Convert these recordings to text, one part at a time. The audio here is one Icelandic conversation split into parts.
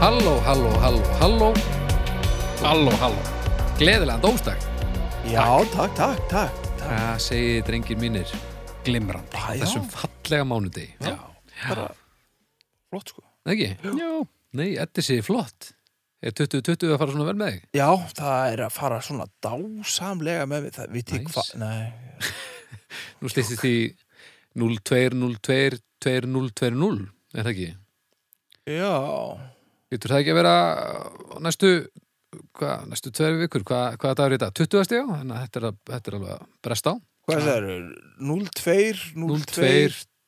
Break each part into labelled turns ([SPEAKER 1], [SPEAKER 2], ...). [SPEAKER 1] halló, halló, halló Halló, halló Gleðilega dómstak
[SPEAKER 2] Já, takk, takk, takk.
[SPEAKER 1] Það segið drengir mínir glimrandi á
[SPEAKER 2] Ah, já.
[SPEAKER 1] Þessum fallega mánudegi Já,
[SPEAKER 2] Bara flott sko.
[SPEAKER 1] Nei, ekki? Já Nei, þetta sé flott Er 2020 að fara svona vel með þig?
[SPEAKER 2] Já, það er að fara svona dásamlega með mig. Það veit ég
[SPEAKER 1] Nice.
[SPEAKER 2] hvað, nei.
[SPEAKER 1] Nú stýttist því 0202 2020 Er það ekki?
[SPEAKER 2] Já,
[SPEAKER 1] Getur það ekki að vera á næstu hva, næstu tveir vikur, hvað hva dagur er þetta? 20. já, þannig að þetta er, að- þetta er alveg að bresta á
[SPEAKER 2] hvað er það? 0-2, 0-2.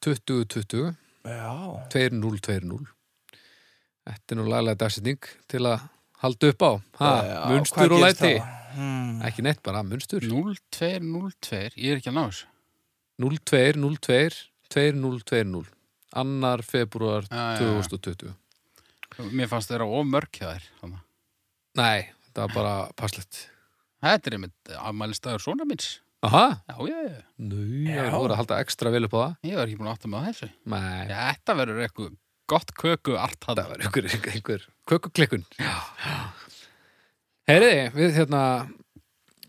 [SPEAKER 1] 02 2020
[SPEAKER 2] Já,
[SPEAKER 1] 2020 Þetta er nú laglega dagsetning til að halda upp á ha,
[SPEAKER 2] já,
[SPEAKER 1] munstur og
[SPEAKER 2] hvað gerist
[SPEAKER 1] læti
[SPEAKER 2] þá? Hmm.
[SPEAKER 1] ekki neitt bara munstur
[SPEAKER 3] 0202, ég er ekki að ná þessu
[SPEAKER 1] 0202 2020 annar februar
[SPEAKER 3] Já, já, já.
[SPEAKER 1] 2020
[SPEAKER 3] Mér fannst þeirra of mörg hjá þér þarna.
[SPEAKER 1] Nei, það var bara passlegt
[SPEAKER 3] Þetta er einmitt afmælistæður svona minns
[SPEAKER 1] Aha,
[SPEAKER 3] Já, já, já,
[SPEAKER 1] nú,
[SPEAKER 2] Já.
[SPEAKER 1] það voru að halda ekstra vel upp á það
[SPEAKER 3] ég var ekki búin að átta mig á þessu
[SPEAKER 1] Nei,
[SPEAKER 3] Þetta verður eitthvað gott köku art
[SPEAKER 1] það
[SPEAKER 3] hann
[SPEAKER 1] var einhver, einhver kökuklikkun Heyriði, við hérna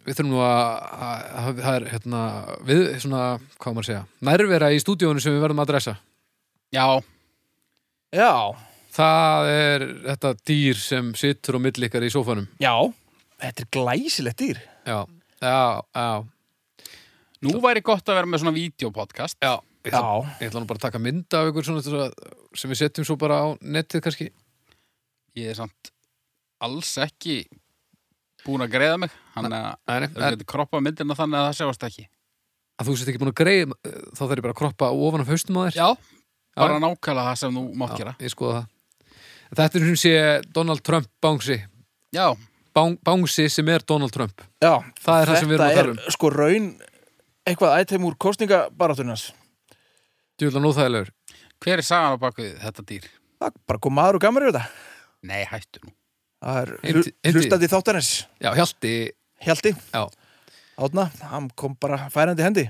[SPEAKER 1] við þurfum nú að, að, að það er hérna, við svona, hvað á maður að segja nærvera í stúdíónu sem við verðum að dressa
[SPEAKER 3] Já,
[SPEAKER 2] Já,
[SPEAKER 1] Það er þetta dýr sem situr á milli ykkar í sófanum
[SPEAKER 2] já, þetta er glæsilegt dýr.
[SPEAKER 1] Já, já, já
[SPEAKER 3] nú væri gott að vera með svona videopodcast Já,
[SPEAKER 1] Ég
[SPEAKER 2] Já,
[SPEAKER 1] ætla, ég ætla nú bara að taka mynda af ykkur svona til að- sem við setjum svo bara á netið kannski
[SPEAKER 3] ég er samt alls ekki búin að greiða mig Þannig að
[SPEAKER 1] Nei, nei,
[SPEAKER 3] það
[SPEAKER 1] en,
[SPEAKER 3] getur kroppað myndina þannig að það sjáast ekki
[SPEAKER 1] að þú sett ekki búin að greið þá þarf ég bara að kroppa ofan af haustum að þér
[SPEAKER 3] Já, bara nákvæmlega það sem þú mátt gera
[SPEAKER 1] ég skoða það Þetta er hún sé Donald Trump bánsi
[SPEAKER 3] Já,
[SPEAKER 1] Bán, Bánsi sem er Donald Trump
[SPEAKER 2] já.
[SPEAKER 1] Það er það sem við erum að tala um.
[SPEAKER 2] Þetta er sko raun eitthvað ætæm úr kostningabarátunars.
[SPEAKER 1] Djúlega nóþægilegur
[SPEAKER 3] hver er sagan á bakvið þetta dýr?
[SPEAKER 2] Það er bara kom maður og gamar í þetta.
[SPEAKER 3] Nei, hættu nú
[SPEAKER 2] Það er
[SPEAKER 1] Heimti-
[SPEAKER 2] hlu-
[SPEAKER 1] heimti-
[SPEAKER 2] hlustandi þáttanins.
[SPEAKER 1] Já, Hjalti,
[SPEAKER 2] Hjaldi,
[SPEAKER 1] já
[SPEAKER 2] átna, hann kom bara færandi hendi.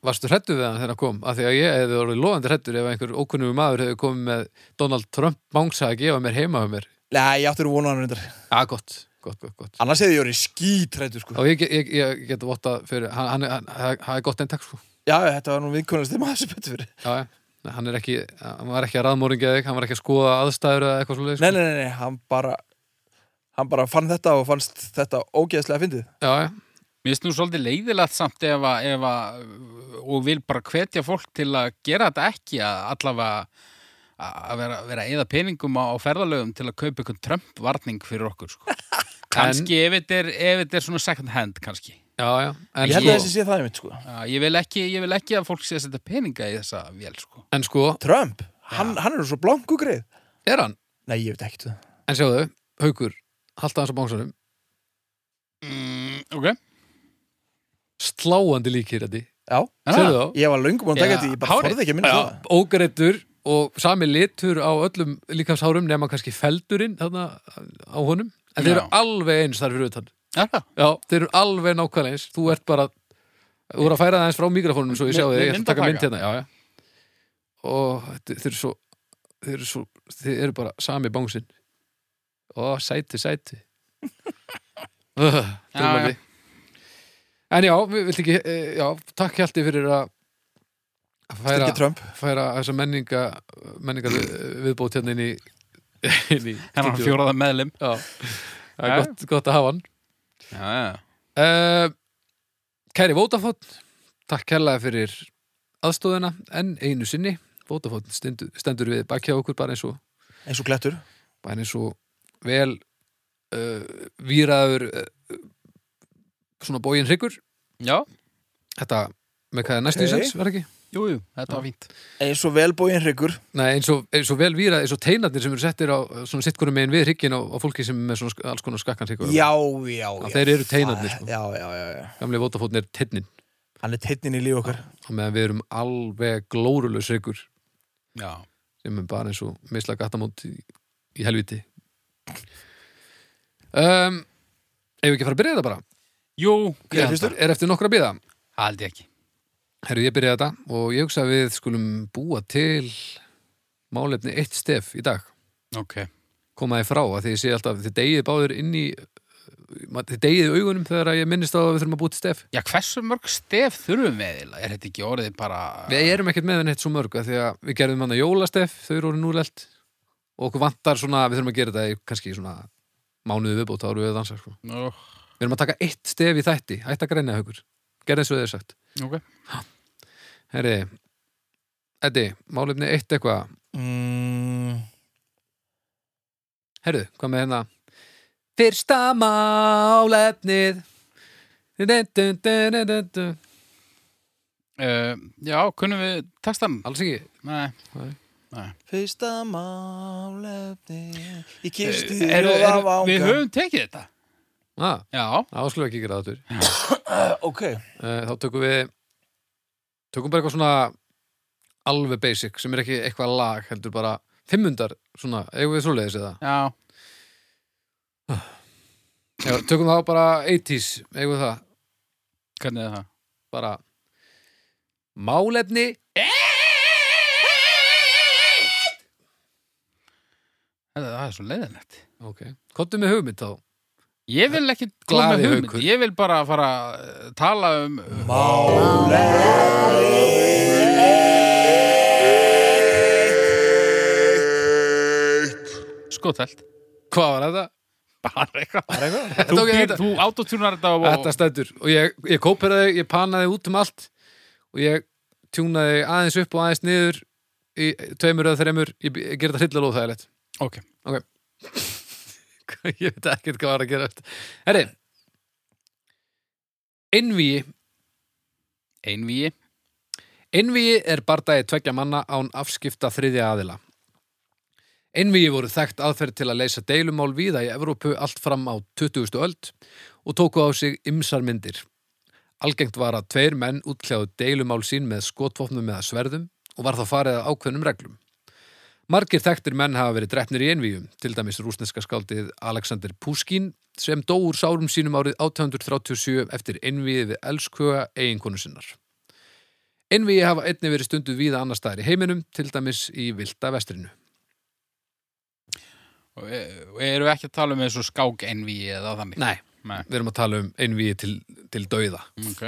[SPEAKER 1] Varstu hrættu við hann þegar hann kom? Af því að ég hefði orðið loðandi hrættur ef einhver ókunnum maður hefði komið með Donald Trump bánsa að gefa mér heima um mér.
[SPEAKER 2] Nei, ég áttur að vona hann reyndar.
[SPEAKER 1] Já, gott, gott, gott, gott.
[SPEAKER 2] Annars hefði ég orðið skítrættur sko.
[SPEAKER 1] Og ég, ég, ég get votta fyrir, hann, hann, hann, hann, hann er gott eintak, sko.
[SPEAKER 2] Já, já, þetta var nú viðkonast þeim aðeins betur fyrir.
[SPEAKER 1] Já, já. Nei, Hann er ekki, hann var ekki að raðmóringja þig, hann var ekki að skoða aðstæður eða eitthvað svolítið, sko.
[SPEAKER 2] Nei, nei, nei, nei, hann bara, hann bara fann þetta og fannst þetta ógeðslega fyndið.
[SPEAKER 1] Já, já.
[SPEAKER 3] Mér finnst nú svolítið leiðilegt samt ef að, ef að og vil bara hvetja fólk til að gera þetta ekki að allavega að vera, vera eða peningum á, á ferðalögum til að kaupa einhvern Trump varning fyrir okkur sko. kannski ef þetta er, ef þetta er svona second hand kannski
[SPEAKER 1] Já, já. En
[SPEAKER 2] Ég held að
[SPEAKER 1] sko,
[SPEAKER 2] þessi sé það einmitt sko.
[SPEAKER 3] uh, ég, vil ekki, ég vil ekki að fólk sé að setja peninga í þessa vél sko.
[SPEAKER 1] en sko,
[SPEAKER 2] Trump, hann, hann er nú svo blanku greið.
[SPEAKER 1] er hann?
[SPEAKER 2] Nei, ég veit ekkert um það.
[SPEAKER 1] En sjáðu, haukur, halda hans á bánsanum,
[SPEAKER 3] mm, ok
[SPEAKER 1] sláandi líkir þetta.
[SPEAKER 2] Já,
[SPEAKER 1] Sérðu þá?
[SPEAKER 2] ég var löngum búin að
[SPEAKER 3] Já,
[SPEAKER 2] taka þetta, ég bara
[SPEAKER 3] hárið.
[SPEAKER 2] forði ekki að minna
[SPEAKER 1] Já,
[SPEAKER 2] það.
[SPEAKER 1] ógreittur og sami litur á öllum líkamshárum nema kannski feldurinn þarna á honum en þeir eru
[SPEAKER 3] Já.
[SPEAKER 1] alveg eins þar fyrir utan
[SPEAKER 3] Er það?
[SPEAKER 1] já, þeir eru alveg nákvæmlega eins þú ert bara, þú eru að færa það eins frá mikrofónum svo ég sjá
[SPEAKER 3] Mynd-
[SPEAKER 1] þig, ég ætla að taka
[SPEAKER 3] myndataka.
[SPEAKER 1] mynd hérna já, já. og þetta- þeir eru svo þeir eru svo, þeir eru bara sami bánsinn og sæti, sæti Ugh,
[SPEAKER 3] Já,
[SPEAKER 1] dulmandi.
[SPEAKER 3] já.
[SPEAKER 1] en já, við vilt ekki eh, já, takk hjalti fyrir að að færa
[SPEAKER 2] Styrkja Trump.
[SPEAKER 1] færa þessa menninga, menninga viðbót hérna inn í, inn í
[SPEAKER 3] Hennar
[SPEAKER 1] stúdíó.
[SPEAKER 3] fjóraða meðlim
[SPEAKER 1] Já, það
[SPEAKER 3] Já,
[SPEAKER 1] er
[SPEAKER 3] já.
[SPEAKER 1] gott, gott að hafa hann
[SPEAKER 3] já, já.
[SPEAKER 1] uh, Kæri Vótafótt Takk kærlega fyrir aðstóðina en einu sinni Vótafótt stendur, stendur við bakja okkur bara eins og,
[SPEAKER 2] Eins og klettur.
[SPEAKER 1] bara eins og vel uh, víraður uh, svona bógin hryggur
[SPEAKER 3] já,
[SPEAKER 1] Þetta með hvað er næstu í
[SPEAKER 2] Ok.
[SPEAKER 1] sens, var ekki?
[SPEAKER 3] jú, jú, þetta var fínt
[SPEAKER 2] Eins og velbóin hryggur.
[SPEAKER 1] Nei, eins og, eins og vel vírað, eins og teinarnir sem eru settir á eh, svona sittkurum megin við hryggin á, á fólki sem er með svona sk- alls konar skakkan hryggur
[SPEAKER 2] Já, já, já.
[SPEAKER 1] þeir eru teinarnir, sko.
[SPEAKER 2] Það- Já, já, já, já.
[SPEAKER 1] Gamli vótafótn er teinnin
[SPEAKER 2] Hann er teitnin í líf okkar.
[SPEAKER 1] og meðan við erum alveg glórulaus hryggur
[SPEAKER 3] já,
[SPEAKER 1] sem er bara eins og misla gattamót í, í helviti um, Ef við ekki að fara að byrja þetta bara
[SPEAKER 3] jú,
[SPEAKER 2] Hver er
[SPEAKER 3] ég held
[SPEAKER 2] fyrstur?
[SPEAKER 3] það.
[SPEAKER 1] Er eftir nokkra að byrja
[SPEAKER 3] Það held ég ekki
[SPEAKER 1] Herru, ég byrja þetta og ég hugsa að við skulum búa til málefni eitt stef í dag
[SPEAKER 3] ok,
[SPEAKER 1] koma þið frá að þið sé alltaf, þið deyið báður inn í ma- þið deyið í augunum þegar að ég minnist á að við þurfum að búti stef
[SPEAKER 3] Já, hversu mörg stef þurfum við eiginlega? Er þetta ekki orðið bara...
[SPEAKER 1] við erum ekkert með henni eitt svo mörg af því að við gerðum hann að jólastef, þau eru orðin úrlelt og okkur vantar svona, við þurfum að gera þetta í kannski svona mánuði viðbót þá erum við að dansa sko.
[SPEAKER 3] Nú,
[SPEAKER 1] við erum að taka eitt stef í þætti, hætt að greina haukur gerði eins og þið er sagt
[SPEAKER 3] ok.
[SPEAKER 1] Herri, Eddi, málefni eitt eitthvað
[SPEAKER 2] mm,
[SPEAKER 1] Herðu, hvað með hérna? Fyrsta málefnið dun, dun, dun, dun, dun, dun.
[SPEAKER 3] Uh, já, kunnum við textan?
[SPEAKER 1] Alls ekki
[SPEAKER 3] Nei.
[SPEAKER 2] Fyrsta málefni Ég kisti
[SPEAKER 3] Eh,
[SPEAKER 2] og
[SPEAKER 3] eru-
[SPEAKER 2] það
[SPEAKER 3] eru-
[SPEAKER 2] var
[SPEAKER 3] Við
[SPEAKER 2] ánga
[SPEAKER 3] höfum tekið þetta.
[SPEAKER 1] ah,
[SPEAKER 3] Já,
[SPEAKER 1] Á, skulum við ekki gera það þáttur
[SPEAKER 2] Ok,
[SPEAKER 1] Eh, Þá tökum við Tökum bara eitthvað svona alveg basic sem er ekki eitthvað lag heldur bara fimmundar svona, eigum við svoleiðis eða
[SPEAKER 3] já.
[SPEAKER 1] Já, Tökum þá bara 80s eigum við það
[SPEAKER 3] Hvernig er það?
[SPEAKER 1] bara Málefni
[SPEAKER 3] Þetta það er svo leiðinlegt.
[SPEAKER 1] Ok, kottum með hugmynd þá
[SPEAKER 3] Ég vil ekki koma
[SPEAKER 1] Glaði
[SPEAKER 3] með hugmynd.
[SPEAKER 1] Haukur.
[SPEAKER 3] Ég vil bara fara að tala um... Skotelt.
[SPEAKER 1] Hvað var þetta?
[SPEAKER 3] Bara eitthvað.
[SPEAKER 2] það er eitthvað
[SPEAKER 3] Þú,
[SPEAKER 1] tók ég
[SPEAKER 3] býr-
[SPEAKER 1] þetta.
[SPEAKER 3] þú autotúnar þetta og...
[SPEAKER 1] Þetta stendur og ég, ég kóperaði, ég panaði út um allt og ég tjúnaði aðeins upp og aðeins niður í tveimur eða þreimur, ég, b- ég gerði þetta hryllilega óþægilegt
[SPEAKER 3] Ok.
[SPEAKER 1] ég veit ekkert hvað var að gera þetta Herri Einvíi
[SPEAKER 3] Einvíi.
[SPEAKER 1] Einvíi er bardagi tveggja manna án afskipta þriðja aðila. Einvíi voru þekkt aðferð til að leysa deilumál víða í Evrópu allt fram á 20. öld og tóku á sig ymsar myndir. Algengt var að tveir menn útkljáðu deilumál sín með skotvopnum eða sverðum og var þá farið að ákveðnum reglum. Margir þekktir menn hafa verið drefnir í einvíum, til dæmis rúsneska skáldið Alexander Puskin sem dó úr sárum sínum árið 1837 eftir einvíið við elskuga eiginkonu sinnar. Einvíi hafa einnig verið stundu víða annar staðar í heiminum, til dæmis í Vilda vestrinu.
[SPEAKER 3] Og e- og eru ekki að tala um eins og skák einvíi eða þannig?
[SPEAKER 1] Nei,
[SPEAKER 3] Nei.
[SPEAKER 1] við erum að tala um einvíi til, til dauða.
[SPEAKER 3] Ok.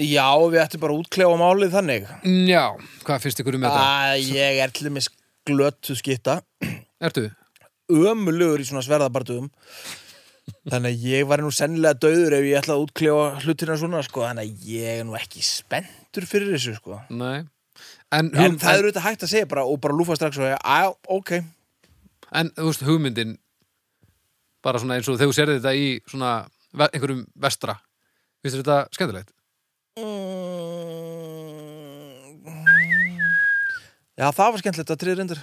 [SPEAKER 2] Já, við ættum bara að útklefa málið þannig
[SPEAKER 1] Mm, Já, hvað finnst ykkur um þetta?
[SPEAKER 2] Æ, ég er til dæmis glötu skipta
[SPEAKER 1] Ertu?
[SPEAKER 2] ömulugur í svona sverðabartuðum þannig að ég var nú sennilega döður ef ég ætlaði að útklefa hlutina svona sko, þannig að ég er nú ekki spenntur fyrir þessu sko.
[SPEAKER 1] Nei. En,
[SPEAKER 2] en
[SPEAKER 1] hugm-
[SPEAKER 2] það er auðvitað hægt að segja bara og bara lúfa strax og ég, á, ok
[SPEAKER 1] en þú veist, hugmyndin bara svona eins og þegar þú sérði þetta í svona ve- einhverjum vestra. Finnst þér þetta skemmtilegt?
[SPEAKER 2] Mm. Já, það var skemmtilegt að triða reyndur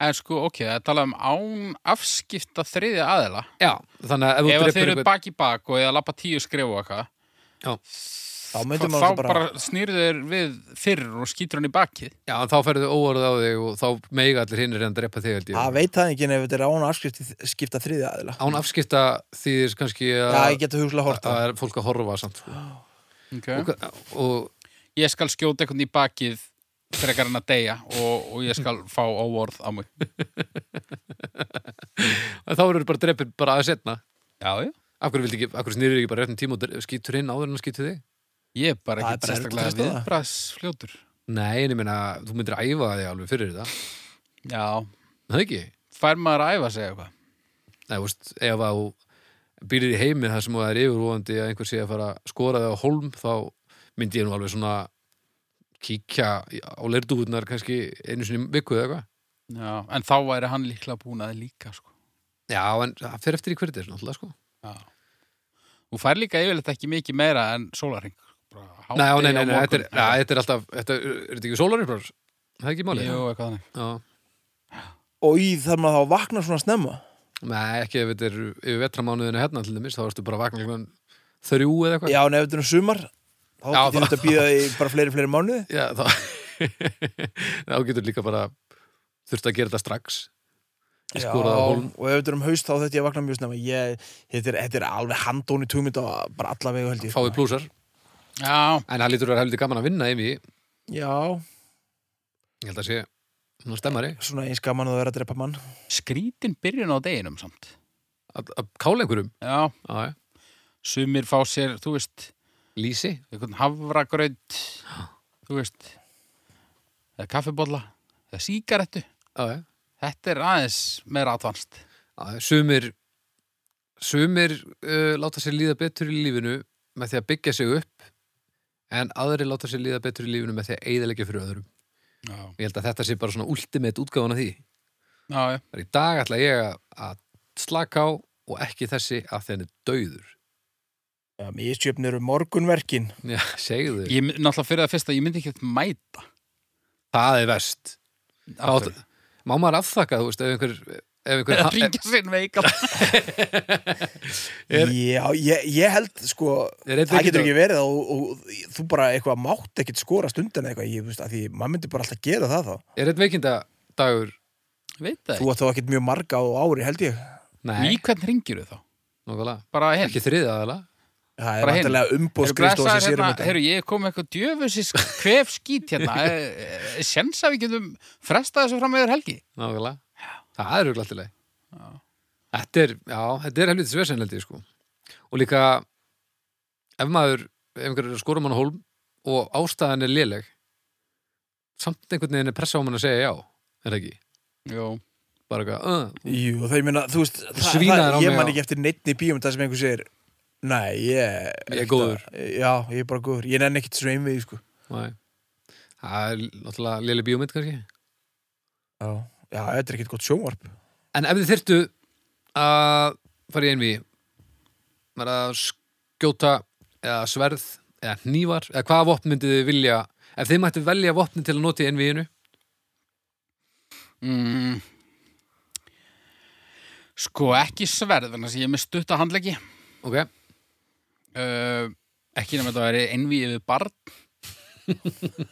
[SPEAKER 3] En sko, ok, það er talað um án afskipta þriðja aðila.
[SPEAKER 1] Já, þannig að ef þú
[SPEAKER 3] Ef að þeir
[SPEAKER 1] drefur
[SPEAKER 3] eru
[SPEAKER 1] einhvern...
[SPEAKER 3] bak í bak og eða lappa tíu skrifu og eitthvað,
[SPEAKER 2] þá myndum
[SPEAKER 3] þá
[SPEAKER 2] maður
[SPEAKER 3] bara, bara snýrðu þeir við fyrr og skýtur hann í bakið.
[SPEAKER 1] Já, en þá ferðu óorð á þig og þá meiga allir hinnir en drepa þig held ég.
[SPEAKER 2] að veit það ekki ef þetta er án afskipti skipta þriðja aðila
[SPEAKER 1] Án afskipta þýðir kannski
[SPEAKER 2] Já,
[SPEAKER 1] að,
[SPEAKER 2] ég geta huglega hort
[SPEAKER 1] að er fólk að horfa samt. Sko.
[SPEAKER 3] Okay.
[SPEAKER 1] Og, og
[SPEAKER 3] Ég skal skjóta einhvern í bakið frekar hann að deyja og, og ég skal fá óorð á mig.
[SPEAKER 1] En þá eru bara dreppir bara aðeins setna
[SPEAKER 3] Já, já.
[SPEAKER 1] Af hverju, vildi ekki, af hverju snýrir ekki bara réttum tíma og dre- skýtur hinn áður en hann skýtur þig?
[SPEAKER 3] Ég er
[SPEAKER 2] Það
[SPEAKER 3] bara
[SPEAKER 2] er
[SPEAKER 3] ekkert
[SPEAKER 2] bara erfitt
[SPEAKER 3] sérstaklega
[SPEAKER 2] að treysta það.
[SPEAKER 3] viðbrasfljótur.
[SPEAKER 1] Nei, en ég meina, þú myndir æfa þig alveg fyrir þetta
[SPEAKER 3] Já,
[SPEAKER 1] Er Það ekki?
[SPEAKER 3] fær maður að æfa sig eitthvað.
[SPEAKER 1] Nei, þú veist, ef að þú býrir í heimi þar sem það er yfirvóðandi að einhver sé að fara að skora þig á holm þá myndi ég nú alveg svona kíkja í- á lerdúðunar kannski einu sinni í viku eða eitthvað
[SPEAKER 3] Já, en þá væri hann líklega búin að líka, sko.
[SPEAKER 1] Já, en það fer eftir í hverju þetta er náttúrulega sko
[SPEAKER 3] Já. Þú fær líka yfirleitt ekki mikið meira en sólarring. Nei,
[SPEAKER 1] Nei, á, nei, nei, nei, þetta er, ja, þetta er alltaf þetta, er þetta ekki sólarinn, það er ekki málið
[SPEAKER 3] Jú, eitthvað þannig.
[SPEAKER 1] Já.
[SPEAKER 2] og í þarf maður þá að vakna svona snemma
[SPEAKER 1] Nei, ekki ef þetta er yfir vetramánuðinu hérna til dæmis, þá ertu bara að vakna klukkan þrjú eða eitthvað.
[SPEAKER 2] Já, en ef þetta er um sumar þá
[SPEAKER 1] Já,
[SPEAKER 2] getur
[SPEAKER 1] þá-
[SPEAKER 2] þetta að býða í bara fleiri, fleiri mánuði
[SPEAKER 1] Já, þá, þá getur líka bara þurft að gera þetta strax. Ég skoraði á Hólm.
[SPEAKER 2] og ef þetta er um haust þá þetta ég að vakna mjög snemma ég, þetta, er, þetta er alveg handóni tómynd á bara alla vegu held ég
[SPEAKER 1] Fáið plúsar.
[SPEAKER 3] Já,
[SPEAKER 1] En það lítur að vera heldur gaman að vinna yfir í.
[SPEAKER 2] Já,
[SPEAKER 1] Ég held að sé Nú stemmari.
[SPEAKER 2] svona eins gaman og það vera að drepa mann
[SPEAKER 3] Skrítin byrjun á deginum samt.
[SPEAKER 1] Að, að kála einhverjum.
[SPEAKER 3] Já,
[SPEAKER 1] Já, já.
[SPEAKER 3] sumir fá sér, þú veist,
[SPEAKER 1] Lísi.
[SPEAKER 3] einhvern havragraut, þú veist, eða kaffibólla, eða sígarettu.
[SPEAKER 1] Já, já.
[SPEAKER 3] Þetta er aðeins meira advanced.
[SPEAKER 1] Já, Sumir, sumir uh, láta sér líða betur í lífinu með því að byggja sig upp en aðri láta sér líða betur í lífinu með því að eigðilegja fyrir öðrum.
[SPEAKER 3] Já,
[SPEAKER 1] Ég held að þetta sé bara svona ultimate útgáfan af því.
[SPEAKER 3] já, já.
[SPEAKER 1] Þar í dag ætla ég að- að slaka á og ekki þessi að þenni dauður.
[SPEAKER 2] Já, misjöfn eru morgunverkin
[SPEAKER 1] Já, segðu þau.
[SPEAKER 3] Ég, my- náttúrulega fyrir það fyrsta, ég myndi ekki að mæta.
[SPEAKER 1] Það er vest.
[SPEAKER 3] Af
[SPEAKER 1] Átt, má maður afþakka, þú veist, ef einhver... Ef einhver
[SPEAKER 3] Að ringja sinn veikal.
[SPEAKER 1] Er-
[SPEAKER 2] Já, ég, ég held sko
[SPEAKER 1] Er einn
[SPEAKER 2] það getur
[SPEAKER 1] veikindagur?
[SPEAKER 2] ekki verið og, og þú bara eitthvað mátt ekkit skora stundan eitthvað, ég veist að því maður myndi bara alltaf gera það þá,
[SPEAKER 1] er einn veikindadagur...
[SPEAKER 3] Veit það
[SPEAKER 2] þú átt þá ekkit mjög marga á ári held ég,
[SPEAKER 3] ekki. Í hvern ringir þú þá?
[SPEAKER 1] Nógulega.
[SPEAKER 3] Bara hinn.
[SPEAKER 1] Ekki þriðið aðalega.
[SPEAKER 2] það er
[SPEAKER 3] Bara hinn.
[SPEAKER 2] vantilega
[SPEAKER 3] Eru
[SPEAKER 2] umbóðskristóð
[SPEAKER 3] blessaðir
[SPEAKER 2] sem sér um
[SPEAKER 3] hérna,
[SPEAKER 2] þetta
[SPEAKER 3] Herru, ég kom með eitthvað djöfusis kvef skít hérna. Sens að við getum frestað þessu fram meður helgi.
[SPEAKER 1] Nákvæmlega. Það er rúglaltileg. Þetta er, já, þetta er helvitið svesenleldið, sko. Og líka, ef maður, ef einhver er að skora mann á hólm og ástæðan er léleg, samt einhvern veginn er pressa á mann að segja já, er það ekki?
[SPEAKER 3] Jó.
[SPEAKER 1] Bara eitthvað, uh,
[SPEAKER 2] Jú, það ég meina, þú veist það,
[SPEAKER 1] svínaðir á
[SPEAKER 2] það,
[SPEAKER 1] mig
[SPEAKER 2] ég
[SPEAKER 1] á-
[SPEAKER 2] man ekki eftir neittni bíum það sem einhver segir, nei, ég er
[SPEAKER 1] Ég er
[SPEAKER 2] ekkert
[SPEAKER 1] góður.
[SPEAKER 2] að- Já, ég er bara góður, ég nenni ekkit svona einvið, sko
[SPEAKER 1] næ. Það er náttúrulega léleg bíómynd, kannski.
[SPEAKER 2] Já, já þetta er ekkit gott sjónvarp
[SPEAKER 1] En ef þið þyrftu að fara í einví, bara að skjóta eða sverð eða hnívar, eða hvaða vopn myndið þið vilja, ef þið mættu velja vopni til að nota í einvíinu,
[SPEAKER 3] Mm. Sko, ekki sverð, þannig að ég er með stutta handleggi.
[SPEAKER 1] ok?
[SPEAKER 3] Uh, ekki nema þetta að vera einvíið við barn.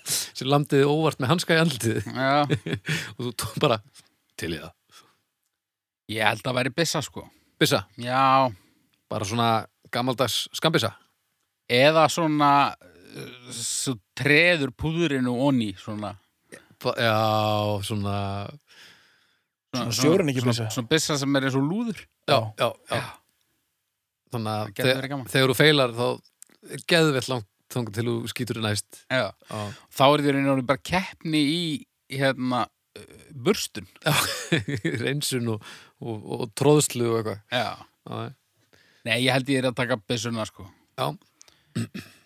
[SPEAKER 1] sem landiði óvart með hanska í andlitið
[SPEAKER 3] Já.
[SPEAKER 1] og þú tók bara til í það
[SPEAKER 3] Ég held að væri byssa, sko.
[SPEAKER 1] Byssa,
[SPEAKER 3] Já.
[SPEAKER 1] bara svona gamaldags skambissa
[SPEAKER 3] Eða svona, uh, svo treður púðurinu onni, svona.
[SPEAKER 1] Ba- Já, svona
[SPEAKER 2] Svona sjóræningja byssa.
[SPEAKER 3] Svona, svona byssa sem er eins og lúður.
[SPEAKER 1] Já, já, já
[SPEAKER 3] Það
[SPEAKER 1] Þannig
[SPEAKER 3] gæti
[SPEAKER 1] að
[SPEAKER 3] verið gaman.
[SPEAKER 1] þe- þegar þú feilar þá er geðvett langt þangað til þú skýtur í næst
[SPEAKER 3] Já.
[SPEAKER 1] Já,
[SPEAKER 3] Þá er því reyna bara keppni í, hérna, uh, burstun.
[SPEAKER 1] reynsun og, og, og, og tróðslu og eitthvað
[SPEAKER 3] Já.
[SPEAKER 1] Já,
[SPEAKER 3] Nei, ég held ég er að taka byssuna, sko.
[SPEAKER 1] Já.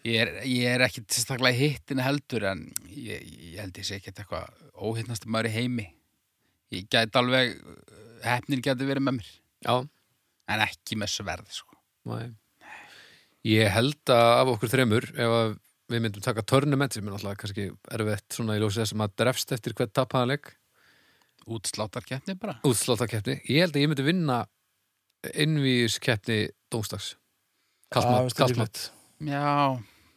[SPEAKER 3] Ég er, ég er ekki tilstaklega hittin heldur, en ég, ég held ég sé ekkert eitthvað óhittnast maður í heimi. Ég gæti alveg, hefnin gæti verið með mér,
[SPEAKER 1] já,
[SPEAKER 3] en ekki með sverði, sko.
[SPEAKER 1] næ Ég held að af okkur þremur ef að við myndum taka tournament sem er náttúrulega kannski erfitt svona í ljósi þess að maður drefst eftir hvert tapaðanleik
[SPEAKER 3] Útsláttar keppni bara.
[SPEAKER 1] útsláttakeppni ég held að ég myndi vinna innvíðiskeppni dómstags
[SPEAKER 2] Já,
[SPEAKER 1] kallmatt,
[SPEAKER 2] veist það ekki
[SPEAKER 1] kallmatt
[SPEAKER 3] Já,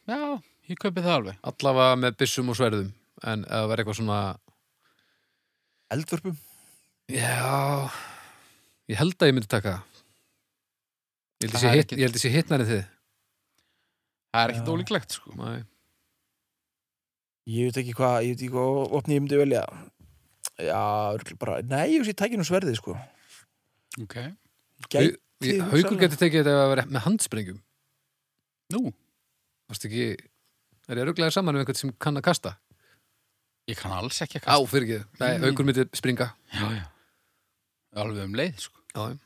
[SPEAKER 3] já, ég kaupi það alveg.
[SPEAKER 1] allavega með byssum og sverðum en ef það verði eitthvað svona
[SPEAKER 2] Eldvörpum
[SPEAKER 1] já ég held að ég myndi taka það. ég held að
[SPEAKER 3] Það
[SPEAKER 1] sé
[SPEAKER 3] er
[SPEAKER 1] hitt-
[SPEAKER 3] ekki-
[SPEAKER 1] ég held að sé hittnæri þið
[SPEAKER 3] Það er ekkert
[SPEAKER 2] Já.
[SPEAKER 3] ólíklegt, sko.
[SPEAKER 1] Nei.
[SPEAKER 2] Ég veit ekki hvað, ég veit ekki hvað opni ég myndi velja Já, örugglega bara, nei, ég veist ég tæki nú sverðið sko
[SPEAKER 3] Ok.
[SPEAKER 2] Gæti
[SPEAKER 1] Hau- ég-
[SPEAKER 2] hugsanlega.
[SPEAKER 1] haukur getur tekið þetta að vera með handsprengjum
[SPEAKER 3] Nú,
[SPEAKER 1] varst ekki er ég ruglaðið saman um einhvern sem kann að kasta
[SPEAKER 3] ég kann alls ekki að
[SPEAKER 1] á
[SPEAKER 3] kasta.
[SPEAKER 1] fyrir ekki, Nei,
[SPEAKER 3] Mm.
[SPEAKER 1] haukur myndi springa
[SPEAKER 3] Já, já. Alveg um leið, sko.
[SPEAKER 1] Já, já.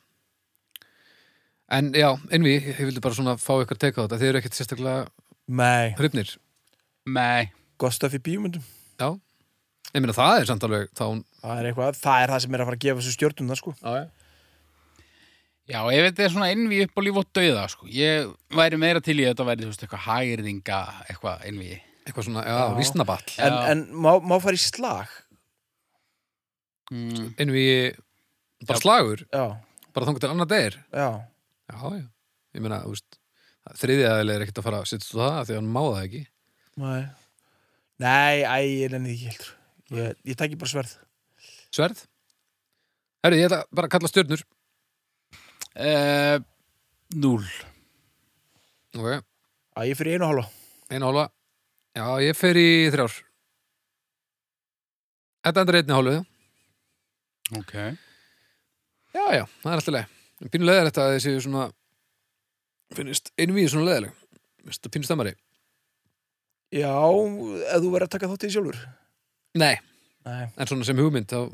[SPEAKER 1] En já, envi, ég vildi bara svona fá ykkur teka á þetta. Þið eru ekkert sérstaklega
[SPEAKER 2] Nei,
[SPEAKER 1] hrifnir.
[SPEAKER 3] Nei,
[SPEAKER 2] gott stöf í bíumundum
[SPEAKER 1] Ég meina, það er samt alveg þá...
[SPEAKER 2] Það er eitthvað, það er það sem er að fara að gefa þessu stjórnum það sko
[SPEAKER 1] Já, já.
[SPEAKER 3] Já, ef þetta er svona innví upp á líf og dauða, sko. Ég væri meira til í að þetta væri, þú veist, eitthvað hægirðinga, eitthvað innví.
[SPEAKER 1] Eitthvað svona, já,
[SPEAKER 2] Já.
[SPEAKER 1] vísnaball.
[SPEAKER 2] En,
[SPEAKER 3] Já.
[SPEAKER 2] en má, má fara í slag
[SPEAKER 3] Mm.
[SPEAKER 1] Envi, bara
[SPEAKER 3] Já.
[SPEAKER 1] slagur,
[SPEAKER 2] Já,
[SPEAKER 1] bara þangur til annar degir.
[SPEAKER 2] já
[SPEAKER 1] Já, já. Ég meina, þú veist, þriðið aðeins er ekkert að fara að setja þú það af því að hann má það ekki.
[SPEAKER 2] Nei, nei, æ, ég nenni því ekki heldur Ég, ég tæki bara sverð
[SPEAKER 1] Sverð? Herri, ég ætla bara að kalla stjörnur.
[SPEAKER 3] Uh, núl.
[SPEAKER 1] Ok,
[SPEAKER 2] Já, ég fyrir einu og hálfa
[SPEAKER 1] einu hálfa. Já, ég fer í þrjár. Þetta endur einni hálfu, já.
[SPEAKER 3] Ok.
[SPEAKER 1] Já, já, það er alltaf leið Pínu leðar þetta að þessi svona finnist einvíð svona leðarleg Vist það pínu stammari?
[SPEAKER 2] Já, ef þú verður að taka þátt í því sjálfur
[SPEAKER 1] Nei,
[SPEAKER 2] Nei.
[SPEAKER 1] en svona sem hugmynd þá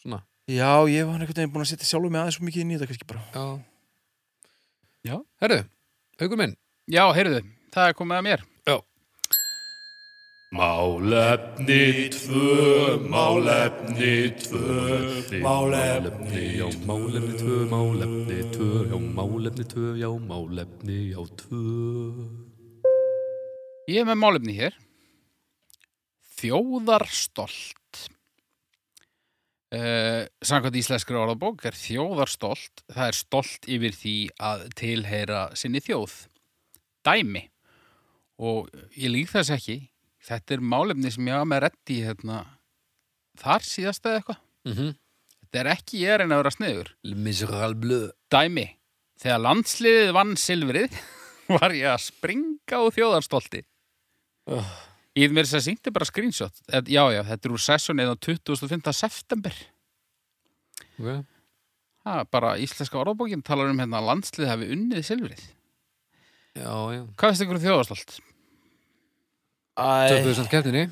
[SPEAKER 1] svona,
[SPEAKER 2] Já, ég var einhvern veginn búin að setja sjálfur mig aðeins svo mikið inn í þetta kannski bara
[SPEAKER 1] já
[SPEAKER 3] Já.
[SPEAKER 1] Herðu, haugur minn
[SPEAKER 3] Já, heyrðu, það er komið að mér.
[SPEAKER 1] Já,
[SPEAKER 4] Málefni tvö, málefni tvö, málefni, já, málefni tvö, málefni tvö, já, málefni tvö, já, málefni, já, tvö.
[SPEAKER 3] Ég er með málefni hér. Þjóðarstolt. Uh, Sankvæmt íslenskri orðabók er þjóðarstolt. Það er stolt yfir því að tilheyra sinni þjóð. Dæmi. Og ég lík þess ekki. Þetta er málefni sem ég hafa með reddi hérna þar síðast eða eitthvað.
[SPEAKER 1] mhm
[SPEAKER 3] Þetta er ekki ég er en að vera sniður.
[SPEAKER 1] Le Miserable Bleu
[SPEAKER 3] Dæmi. Þegar landsliðið vann silfrið var ég að springa á þjóðarstolti.
[SPEAKER 1] oh.
[SPEAKER 3] Ég mér þess að sýndi bara screenshot. Eð, já, já, þetta er úr sessunnið á 25. september.
[SPEAKER 1] okay.
[SPEAKER 3] Ha, bara íslenska orðabókin talar um hérna að landslið hafi unnið silfrið.
[SPEAKER 1] Já, já
[SPEAKER 3] Hvað finnst ykkur um þjóðarstöld?
[SPEAKER 2] Æ,
[SPEAKER 1] Töpuðu samt keppninni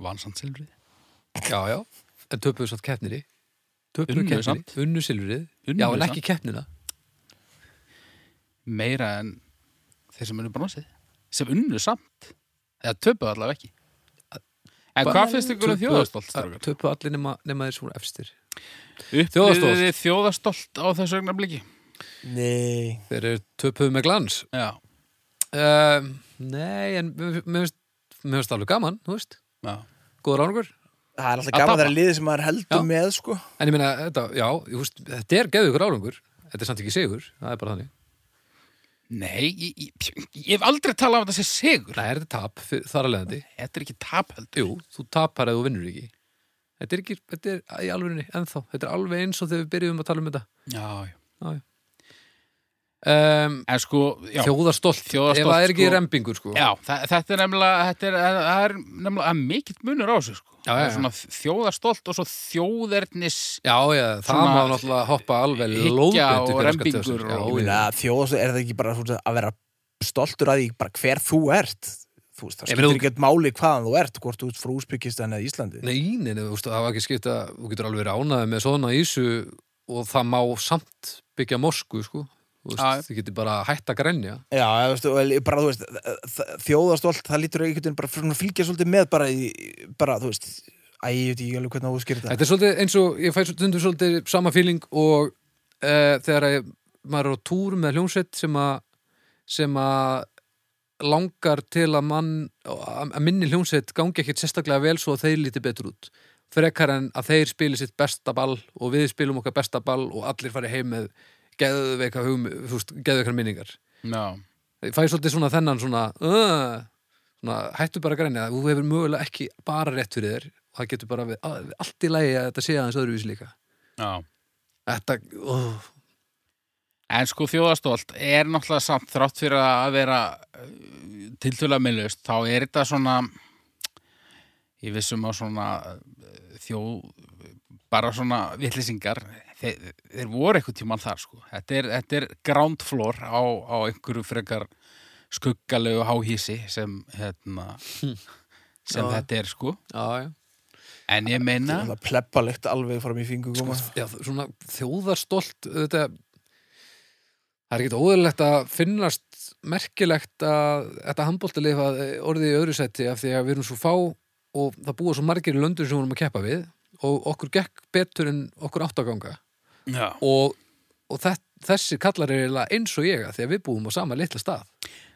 [SPEAKER 3] Vansand silfrið.
[SPEAKER 1] Já, já En töpuðu samt keppninni Töpuðu
[SPEAKER 3] Unnu
[SPEAKER 1] keppninni
[SPEAKER 3] samt.
[SPEAKER 1] Unnu silfrið
[SPEAKER 3] Unnu
[SPEAKER 1] Já, en
[SPEAKER 3] samt.
[SPEAKER 1] ekki keppnina
[SPEAKER 3] Meira en þeir sem unnu bronsið. Sem unnu samt. Eða töpuð allavega ekki. En
[SPEAKER 1] Bara-
[SPEAKER 3] hvað finnst ykkur um þjóðarstöld?
[SPEAKER 1] Töpuðu allir nema, nema þeir svo efstir
[SPEAKER 3] Upplýðið þið þjóðarstöld á þessu augnabliki?
[SPEAKER 2] nei
[SPEAKER 1] Þeir eru töpuðu með glans
[SPEAKER 3] Já,
[SPEAKER 1] uh, Nei, en mér mér finnst Mér finnst það alveg gaman, þú veist
[SPEAKER 3] já.
[SPEAKER 1] Góður árangur
[SPEAKER 2] Það er alltaf
[SPEAKER 3] Að
[SPEAKER 2] gaman
[SPEAKER 3] tapa.
[SPEAKER 2] þegar liðið sem maður heldur
[SPEAKER 1] Já.
[SPEAKER 2] með sko
[SPEAKER 1] En ég meina, þetta, já, þú veist Þetta er geðu ykkur árangur Þetta er samt ekki sigur Það er bara þannig
[SPEAKER 3] Nei, ég, ég, ég hef aldrei talað af þetta sem sigur.
[SPEAKER 1] Nei, er þetta tap fyr- þar að leiðandi
[SPEAKER 3] Þetta er ekki tap heldur.
[SPEAKER 1] Jú, þú tapar eða þú vinnur ekki Þetta er ekki, þetta er í alvegurinni ennþá Þetta er alveg eins og þegar við byrjuðum að tala um þetta
[SPEAKER 3] Já, já.
[SPEAKER 1] um,
[SPEAKER 3] En sko, já.
[SPEAKER 1] Þjóðarstolt,
[SPEAKER 3] Þjóðarstolt,
[SPEAKER 1] ef það er ekki
[SPEAKER 3] sko.
[SPEAKER 1] rembingur sko.
[SPEAKER 3] Já, þa þetta er nefnilega, þetta er, það er nefnilega það er mikill munur á þessu sko.
[SPEAKER 1] Já, já,
[SPEAKER 3] Það er
[SPEAKER 1] já.
[SPEAKER 3] Svona þjóðarstolt og svo þjóðernis
[SPEAKER 1] já, já, það
[SPEAKER 3] Svona
[SPEAKER 1] má náttúrulega hoppa alveg
[SPEAKER 3] hyggja
[SPEAKER 1] lóðbent
[SPEAKER 3] og
[SPEAKER 1] upp í rassgat
[SPEAKER 3] rembingur
[SPEAKER 1] þjóðarstolt.
[SPEAKER 3] og-
[SPEAKER 1] Já, já.
[SPEAKER 2] Þjóðast er það ekki bara svona, að vera stoltur að því bara hver þú ert Þú veist,
[SPEAKER 1] Ég
[SPEAKER 2] það
[SPEAKER 1] meina,
[SPEAKER 2] skiptir
[SPEAKER 1] þú-
[SPEAKER 2] ekki eitt máli hvaðan þú ert hvort þú ert frá Úsbyggistan eða Íslandi
[SPEAKER 1] Nei, nei, nei, þú veist, það var ekki skipta Þú getur alveg ránaði með svona ísu og það má samt byggja mosku sko. Þú
[SPEAKER 3] Já, já.
[SPEAKER 1] veist, þið getur bara hætt að grænja
[SPEAKER 2] Já, þú veist, og ég bara, þú veist, þjóðastolt, það lítur einhvern veginn bara fyrir að fylgja svolítið með bara, í, bara þú veist, æ, ég veit ekki alveg hvernig að útskýra þetta.
[SPEAKER 1] Þetta er svolítið eins og ég fæ stundum svolítið sama feeling og uh, þegar ég, maður er á túr með hljómsveit sem að sem að langar til að mann að að minni hljómsveit gangi ekkit sérstaklega vel svo að þeir líti betur út frekar en að þeir spili sitt besta ball og við spilum okkar besta ball og allir fari heim með geðveika hugum, þú veist, geðveikar minningar
[SPEAKER 3] Já,
[SPEAKER 1] ég fæ svolítið svona þennan svona, uh, svona hættu bara að grænja þú hefur mögulega ekki bara rétt fyrir þér og það getur bara við, að, við allt í lagi að þetta sé aðeins öðruvísi líka
[SPEAKER 3] já
[SPEAKER 1] þetta, uh,
[SPEAKER 3] En sko þjóðarstolt er náttúrulega samt þrátt fyrir að vera tiltöla minnlust, þá er þetta svona ég vissum á svona eh, þjóð bara svona vitlýsingar þeir, þeir voru eitthvað tímann þar sko þetta er, þetta er ground floor á, á einhverju frekar skuggalegu háhísi sem hérna sem
[SPEAKER 1] Já.
[SPEAKER 3] þetta er sko
[SPEAKER 1] já, já.
[SPEAKER 3] en ég meina
[SPEAKER 2] Það er pleppalegt alveg fram í fingur koma.
[SPEAKER 1] já, svona þjóðarstolt þetta það er ekkert óðurlegt að finnast merkilegt að þetta handbóltalið orðið í öðru seti af því að við erum svo fá og það búa svo margir í löndum sem við erum að keppa við og okkur gekk betur en okkur átt að ganga
[SPEAKER 3] já.
[SPEAKER 1] og, og þess, þessi kallar er eiginlega eins og ég að því að við búum á sama litla stað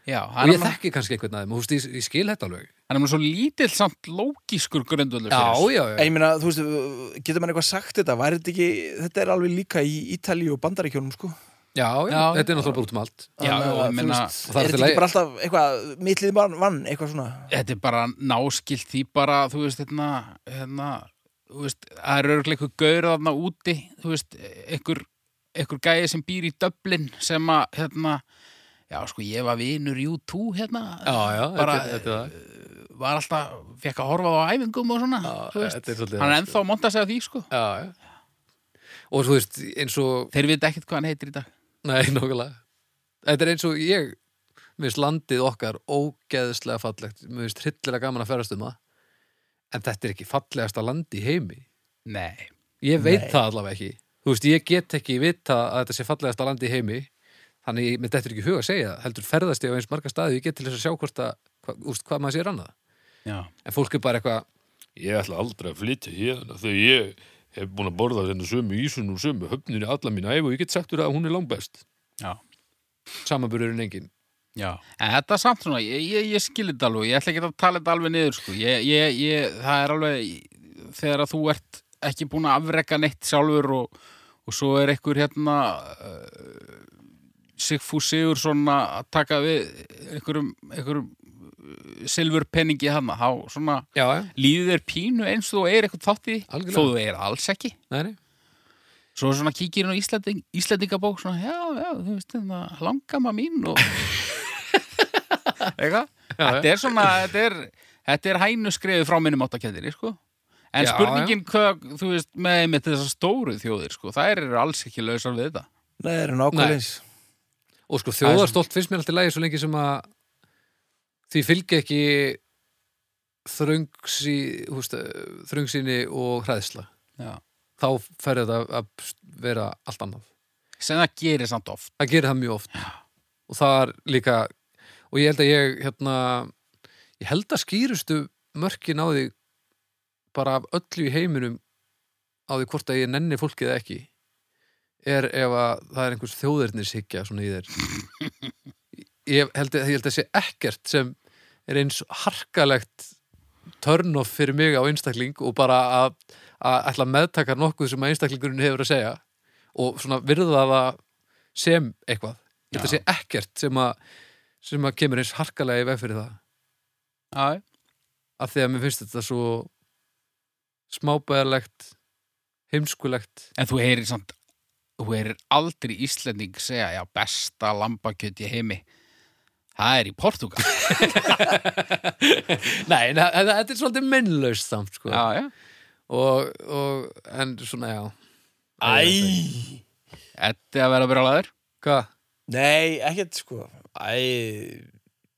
[SPEAKER 3] Já, hann
[SPEAKER 1] og
[SPEAKER 3] er
[SPEAKER 1] ég
[SPEAKER 3] nú-
[SPEAKER 1] þekki kannski einhvern aðeim og ég, ég skil þetta alveg já,
[SPEAKER 3] hann er nú svo lítill samt lókískur grundvöldur
[SPEAKER 1] já,
[SPEAKER 2] En
[SPEAKER 1] já,
[SPEAKER 2] ég meina, þú veist, getur maður eitthvað sagt þetta? Væri þetta ekki, þetta er alveg líka í Ítalíu og Bandaríkjónum, sko.
[SPEAKER 1] já, já,
[SPEAKER 3] Já,
[SPEAKER 1] þetta er náttúrulega bara út um allt
[SPEAKER 3] Já,
[SPEAKER 2] Þannig
[SPEAKER 3] já,
[SPEAKER 2] að,
[SPEAKER 3] ég
[SPEAKER 2] þú
[SPEAKER 3] meina,
[SPEAKER 2] veist,
[SPEAKER 1] og það er allt
[SPEAKER 2] Er
[SPEAKER 1] í
[SPEAKER 2] þetta
[SPEAKER 1] lagi.
[SPEAKER 2] ekki bara alltaf eitthvað, mittlið vann, vann, eitthvað svona?
[SPEAKER 3] þetta er bara náskilt því bara þú veist hérna, hérna þú veist, það er örgulega einhver gaur þarna úti, þú veist, einhver einhver gæði sem býr í Dublin sem að, hérna, já sko, ég var vinur í U2 hérna,
[SPEAKER 1] já, já,
[SPEAKER 3] bara
[SPEAKER 1] þetta, þetta,
[SPEAKER 3] var alltaf, fekk að horfa á æfingum og svona, þú veist.
[SPEAKER 1] þetta er svolítið
[SPEAKER 3] Hann er
[SPEAKER 1] það,
[SPEAKER 3] ennþá að monta sig af því, sko.
[SPEAKER 1] Já, já. Og þú veist, eins og
[SPEAKER 3] Þeir veit ekkert hvað hann heitir í dag.
[SPEAKER 1] Nei, nokkulega Þetta er eins og ég Mér finnst landið okkar ógeðslega fallegt Mér finnst hryllilega gaman að ferast um það En þetta er ekki fallegasta land í heimi
[SPEAKER 3] Nei.
[SPEAKER 1] Ég veit
[SPEAKER 2] Nei.
[SPEAKER 1] það allavega ekki Þú veist, ég get ekki vita að þetta sé fallegasta land í heimi Þannig, mér þetta er ekki í hug að segja það Heldur ferðast ég á eins marga staði Ég get til þess að sjá hvort að hvað, úst, hvað maður sér annað
[SPEAKER 3] Já.
[SPEAKER 1] En fólk er bara eitthvað
[SPEAKER 4] Ég ætla aldrei að flytja hérna þegar ég hef búin að borða þennan sömu ísun og sömu höfnir í alla mína æf og ég get sagt úr að hún er langbest.
[SPEAKER 3] Já.
[SPEAKER 1] Samanburðurinn engin
[SPEAKER 3] Já. En þetta er samt svona, ég, ég, ég skilir þetta alveg, ég ætla ekki að tala þetta alveg niður, sko. Ég, ég, ég, það er alveg, þegar að þú ert ekki búin að afreka neitt sjálfur og, og svo er einhver hérna, uh, Sigfú Sigur svona að taka við einhverjum, einhverjum silfurpenningi hana, þá svona
[SPEAKER 1] Já, já,
[SPEAKER 3] líður þér pínu eins og þú er eitthvað þátt í því,
[SPEAKER 1] Algjörlega.
[SPEAKER 3] þó þú er alls ekki.
[SPEAKER 1] nei, nei
[SPEAKER 3] Svo svona kíkir hún á Íslanding, Íslandingabók svona, já, já, þú veist, hérna, langamma mín og eitthvað. Þetta er svona, þetta er, þetta er hænuskriðu frá minnum áttakendinni, sko. En
[SPEAKER 1] Já,
[SPEAKER 3] spurningin, hvað, þú veist, með, með þessar stóru þjóðir, sko, þær eru alls ekki lausar við þetta.
[SPEAKER 2] Nei, það eru
[SPEAKER 1] Nei.
[SPEAKER 2] nákvæmlega eins.
[SPEAKER 1] Og sko þjóðarstólt finnst mér alltaf lægi svo lengi sem að því fylgja ekki þröngsi, húst, þröngsinni og hræðsla.
[SPEAKER 3] Já.
[SPEAKER 1] Þá fer þetta að vera allt annað.
[SPEAKER 3] Sem það gerir samt oft.
[SPEAKER 1] Það gerir það mjög oft. Og það er líka, og ég held að ég, hérna, ég held að skýrustu mörkin á því bara af öllu í heiminum á því hvort að ég nenni fólkið eða ekki er ef að það er einhvers þjóðirnir sikja svona í þeir ég held, að- ég held að sé ekkert sem er eins harkalegt turn off fyrir mig á einstakling og bara að, að ætla að meðtaka nokkuð sem að einstaklingurinn hefur að segja og svona virða það sem eitthvað
[SPEAKER 3] Já.
[SPEAKER 1] þetta sé ekkert sem að, sem að kemur eins harkalega í veg fyrir það
[SPEAKER 3] Já, já.
[SPEAKER 1] af því að mér finnst þetta svo smábæðarlegt heimskulegt
[SPEAKER 3] En þú heyrir samt, þú heyrir aldrei Íslanding segja, já, besta lambakjöt í heimi. Það er í sko. Portugal.
[SPEAKER 1] Nei, na- þetta þetta er svolítið minnlaust samt sko.
[SPEAKER 3] já, já.
[SPEAKER 1] og, og, en svona já
[SPEAKER 2] Æ!
[SPEAKER 3] Þetta er að vera brjálæður.
[SPEAKER 1] Hvað?
[SPEAKER 2] Nei, ekkert, sko. Æ,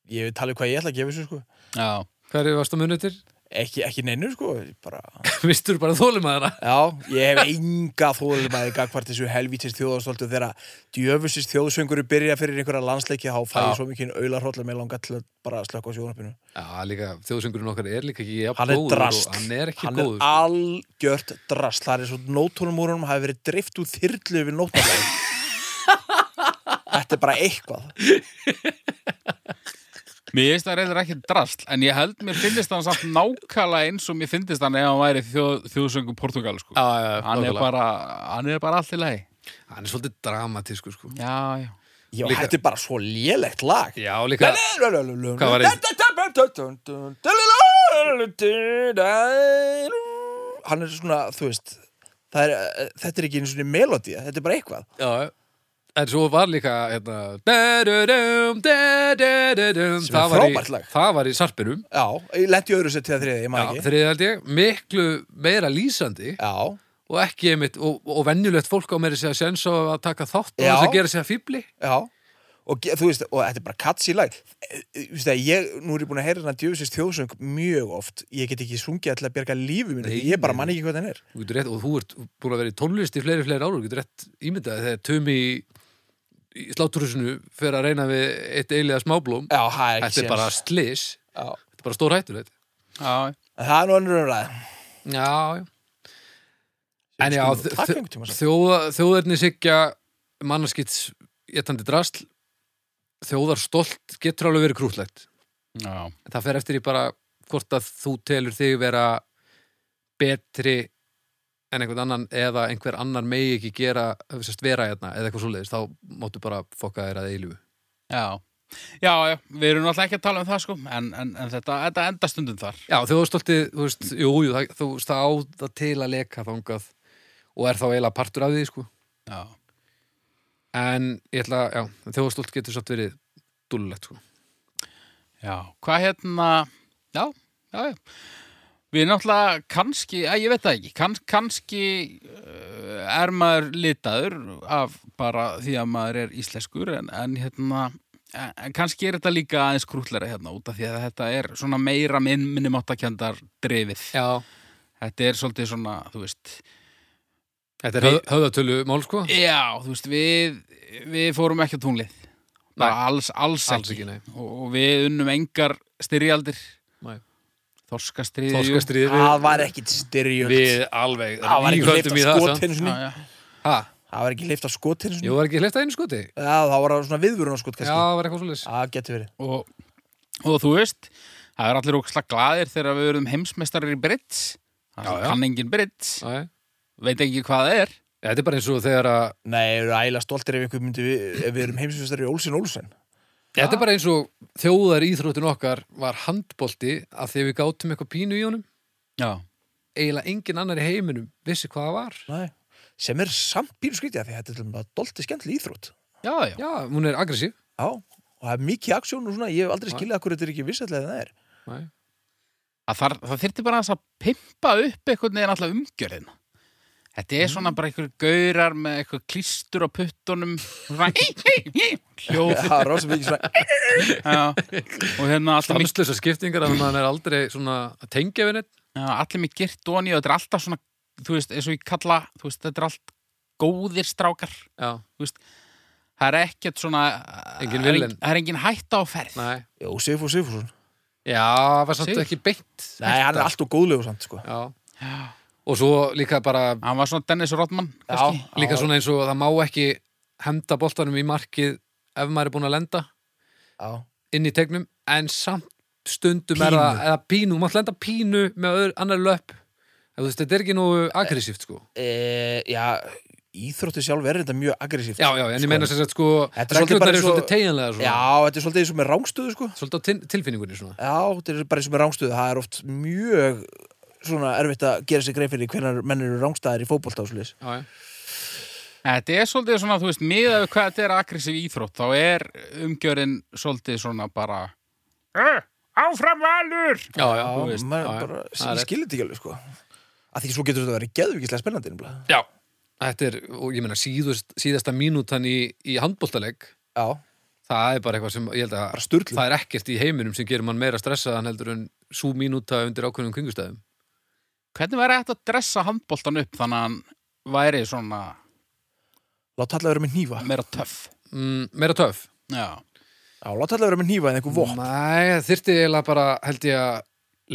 [SPEAKER 2] ég hef talið hvað ég ætla að gefa þessu, sko.
[SPEAKER 3] Já.
[SPEAKER 1] Hverju varst á munutir?
[SPEAKER 2] Ekki, ekki neinu, sko. Ég Bara...
[SPEAKER 1] Vistur bara þólum að það
[SPEAKER 2] Já, ég hef enga þólumæði gagvart þessu helvítist þjóðarstoltu þegar djöfusist þjóðsönguru byrja fyrir einhverja landsleiki þá fæ
[SPEAKER 1] Já.
[SPEAKER 2] ég svo mikið auðlarhrótla með langa til að bara slökka á sjónarpinu
[SPEAKER 1] Já, líka þjóðsöngurinn okkar er líka ekki jafn
[SPEAKER 2] Hann er
[SPEAKER 1] góður og-
[SPEAKER 2] drast
[SPEAKER 1] Hann er ekki
[SPEAKER 2] Hann
[SPEAKER 1] góður sko.
[SPEAKER 2] er algjört drast Það er svo nótónum úr honum hafi verið drift úr þyrlu við nótónum Þetta er bara eitthvað
[SPEAKER 3] Mér finnst það reyndar ekki drasl, en ég held mér finnist hann samt nákvæmlega eins og mér finnist hann ef hann væri þjóð, þjóðsöngu Portugal, sko.
[SPEAKER 1] Já, já, já,
[SPEAKER 3] hann, er
[SPEAKER 1] nákvæmlega.
[SPEAKER 3] bara, hann er bara allt í lagi.
[SPEAKER 1] Hann er svolítið dramatískur sko.
[SPEAKER 3] Já, já.
[SPEAKER 2] Já,
[SPEAKER 1] Líka-
[SPEAKER 2] þetta er bara svo lélegt lag
[SPEAKER 1] Já, líka Hvað var
[SPEAKER 2] Hann er svona, þú veist það er, eh, Þetta er ekki einu svona melodía, þetta er bara eitthvað
[SPEAKER 1] já, En svo var líka hérna, da-da-dum, da-da-da-dum.
[SPEAKER 2] Sem er
[SPEAKER 1] Það var í-
[SPEAKER 2] frábært lag.
[SPEAKER 1] Það var í sarpinum
[SPEAKER 2] Já, ég lendi í öðru sett til það þriðið, ég
[SPEAKER 1] Já,
[SPEAKER 2] maður ekki
[SPEAKER 1] þriðið held ég, miklu meira lýsandi
[SPEAKER 2] Já,
[SPEAKER 1] og ekki einmitt, og, og venjulegt fólk á meiri sér að sens á að taka þátt og
[SPEAKER 2] Já.
[SPEAKER 1] þess að gera sér að fýbli
[SPEAKER 2] já Og ge- þú veist, og þetta er bara katsi lag Eh, Þú veist að ég, nú er ég búin að heyra hann að djöfisins þjóðsöng mjög oft Ég get ekki sungið alltaf að bjarga lífi mínu
[SPEAKER 1] Nei,
[SPEAKER 2] Ég bara
[SPEAKER 1] nei.
[SPEAKER 2] man ekki hvað það er
[SPEAKER 1] og, rétt, og þú ert búin að vera í tónlist í fleiri, fleiri ára og getur rétt ímyndaði þegar Tumi í, í slátturhúsinu fer að reyna við eitt eiliða smáblóm
[SPEAKER 2] Já, það er ekki
[SPEAKER 1] þetta er bara slis,
[SPEAKER 2] bara
[SPEAKER 1] þetta er bara stór hættur
[SPEAKER 3] já.
[SPEAKER 2] Það er nú önnur umræð
[SPEAKER 1] Já, já En já, þ-
[SPEAKER 2] Takk
[SPEAKER 1] þ-
[SPEAKER 2] einhvern tíma samt
[SPEAKER 1] þjóða, þjóðarni sigja mannarskitt étandi drasl þjóðar stolt getur alveg verið krútlegt
[SPEAKER 3] já.
[SPEAKER 1] En það fer eftir í bara hvort að þú telur þig vera betri en einhvern annan eða einhver annar megi ekki gera sest, vera hérna eða eitthvað svoleiðis þá máttu bara fokka þér að eilífu
[SPEAKER 3] Já, já, já. Við erum náttúrulega ekki að tala um það, sko, en, en, en þetta, þetta enda stundum þar.
[SPEAKER 1] Já, þjóðarstoltið, þú veist, jú, jú það, þú veist, það á það til að leka þangað og er þá eiginlega partur af því, sko
[SPEAKER 3] Já.
[SPEAKER 1] en ég ætla, já, þjóðarstolt getur satt verið dúllulegt, sko
[SPEAKER 3] Já. Hvað hérna... Já, já, já. Við náttúrulega kannski, að ég veit það ekki, kann, kannski uh, er maður litaður af bara því að maður er íslenskur en, en hérna, en en kannski er þetta líka aðeins krúllera hérna út af því að þetta er svona meira minn, minnum áttakjöndar drefið.
[SPEAKER 1] Já,
[SPEAKER 3] Þetta er svolítið svona, þú veist,
[SPEAKER 1] þetta er höf, höfðatölu mál sko
[SPEAKER 3] já, þú veist, við, við fórum ekki á túnlið. Bara alls, alls ekki.
[SPEAKER 1] Alls ekki, nei.
[SPEAKER 3] og, og við unnum engar styrjaldir.
[SPEAKER 1] Nei.
[SPEAKER 3] Þorskastriði. jú.
[SPEAKER 1] Þorskastriði
[SPEAKER 2] Það var ekkit styrjöld
[SPEAKER 1] Við alveg
[SPEAKER 2] Það var ekki
[SPEAKER 1] ríghöldum í
[SPEAKER 2] hleyft að
[SPEAKER 1] það samt.
[SPEAKER 2] skotinu sinni
[SPEAKER 3] Já, já.
[SPEAKER 1] Ha,
[SPEAKER 2] Það var ekki hleyft að skotinu
[SPEAKER 1] Jú,
[SPEAKER 2] sinni Já,
[SPEAKER 1] var ekki hleyft að einu skoti?
[SPEAKER 2] það var svona viðvörunarskot
[SPEAKER 1] Já,
[SPEAKER 2] kannski
[SPEAKER 1] það var eitthvað svoleiðis
[SPEAKER 2] Það getur verið
[SPEAKER 3] og, og þú veist það er allir óksla glaðir þegar við verðum heimsmeistarar í Brits
[SPEAKER 1] Já, já.
[SPEAKER 3] kann engin Brits,
[SPEAKER 1] Já, já.
[SPEAKER 3] veit ekki hvað það er
[SPEAKER 1] Þetta er bara eins og þegar að
[SPEAKER 2] Nei, ég eru ægilega stoltir ef einhver myndi við, ef við erum heimsfjöstar í Olsen Olsen
[SPEAKER 1] Þetta er bara eins og þjóðar íþróttin okkar var handbolti að því að við gátum eitthvað pínu í honum
[SPEAKER 3] já,
[SPEAKER 1] eiginlega engin annar í heiminum vissi hvað það var
[SPEAKER 2] Nei Sem er samt bínu skrítið af því að þetta er til dæmis að dolti skemmtileg íþrótt
[SPEAKER 3] já, já,
[SPEAKER 1] Já, hún er aggressív
[SPEAKER 2] Já Og það er mikið aksjón og svona Ég hef aldrei skiljað hvað þetta er ekki vissatlega en það er
[SPEAKER 1] Nei.
[SPEAKER 3] Að Það, það þyrfti bara aðeins að pimpa upp einhvern veginn alltaf umgjörðina þetta er svona bara einhver gaurar með eitthvað klístur á puttunum svona hí, hí, hí, hljóð
[SPEAKER 2] Já, rosa mikið svona
[SPEAKER 3] já. og hérna allir með,
[SPEAKER 1] Stanslösa skiptingar að hann er aldrei svona að tengja við neitt
[SPEAKER 3] já, allir með girt og þetta er alltaf svona, þú veist, eins og ég kalla þú veist, þetta er allt góðir strákar
[SPEAKER 1] Já,
[SPEAKER 3] það er ekkert svona
[SPEAKER 1] Engin
[SPEAKER 3] það er
[SPEAKER 1] villen.
[SPEAKER 3] engin- það er engin hætta á ferð
[SPEAKER 1] nei
[SPEAKER 2] Jó, Sifu Sifursson
[SPEAKER 1] Já, það var samt
[SPEAKER 3] Sigur.
[SPEAKER 1] ekki beint
[SPEAKER 2] Nei, hann er alltaf góðlegu samt sko
[SPEAKER 1] Já,
[SPEAKER 3] Já.
[SPEAKER 1] og svo líka bara
[SPEAKER 3] hann var svona Dennis Rodman kannski.
[SPEAKER 1] líka svona eins og það má ekki henda boltanum í markið ef maður er búin að lenda
[SPEAKER 2] Já
[SPEAKER 1] inn í tegnum en samt stundum
[SPEAKER 2] Pínu.
[SPEAKER 1] er það eða pínu, maður lenda pínu með öðru, annar löp Þú veist, þetta er ekki nú aggressíft sko
[SPEAKER 2] e, já, íþróttu sjálf er þetta mjög aggressíft
[SPEAKER 1] Já, já, en ég meina sem sagt sko
[SPEAKER 2] Þetta er svolítið
[SPEAKER 1] reglurnar eru
[SPEAKER 2] bara eins og-
[SPEAKER 1] svolítið teginlega
[SPEAKER 2] Já,
[SPEAKER 1] svona,
[SPEAKER 2] þetta er svolítið eins og með rángstöðu sko
[SPEAKER 1] svolítið á til, tilfinningunni svona
[SPEAKER 2] Já, þetta er bara eins og með rángstöðu það er oft mjög svona erfitt að gera sér greið fyrir hvernar menn eru rángstæðir í fótbolta og svolítið
[SPEAKER 1] Já, já,
[SPEAKER 3] þetta er svolítið svona, þú veist, miðað við hvað þetta er aggressív íþrótt, þá er umgjörinn svolítið svona bara "Eh, áfram valur
[SPEAKER 1] já, já, þú
[SPEAKER 2] Já,
[SPEAKER 1] veist,
[SPEAKER 2] maður
[SPEAKER 1] já, já,
[SPEAKER 2] bara,
[SPEAKER 1] það er
[SPEAKER 2] ég
[SPEAKER 1] rétt.
[SPEAKER 2] skilur þetta ekki alveg sko að því svo getur þetta að vera geðvíkislega spennandi nefnilega.
[SPEAKER 1] já Þetta er, og ég meina síðust, síðasta mínútan í, í handbóltaleg
[SPEAKER 2] Já,
[SPEAKER 1] það er bara eitthvað sem, ég held að
[SPEAKER 2] bara sturlu
[SPEAKER 1] það er ekkert í heiminum sem gerir mann meira stressaðan heldur en svo mínúta undir ákveðnum kringustæðum
[SPEAKER 3] hvernig væri þetta að dressa handboltan upp þannig að hann væri svona
[SPEAKER 2] Látt alltaf vera með nýfa
[SPEAKER 3] meira töff
[SPEAKER 1] mm, Meira töf
[SPEAKER 3] já,
[SPEAKER 2] Já, látt alltaf vera með nýfa en einhver
[SPEAKER 1] Mm.
[SPEAKER 2] vopn
[SPEAKER 1] Nei, það þyrfti eiginlega bara, held ég að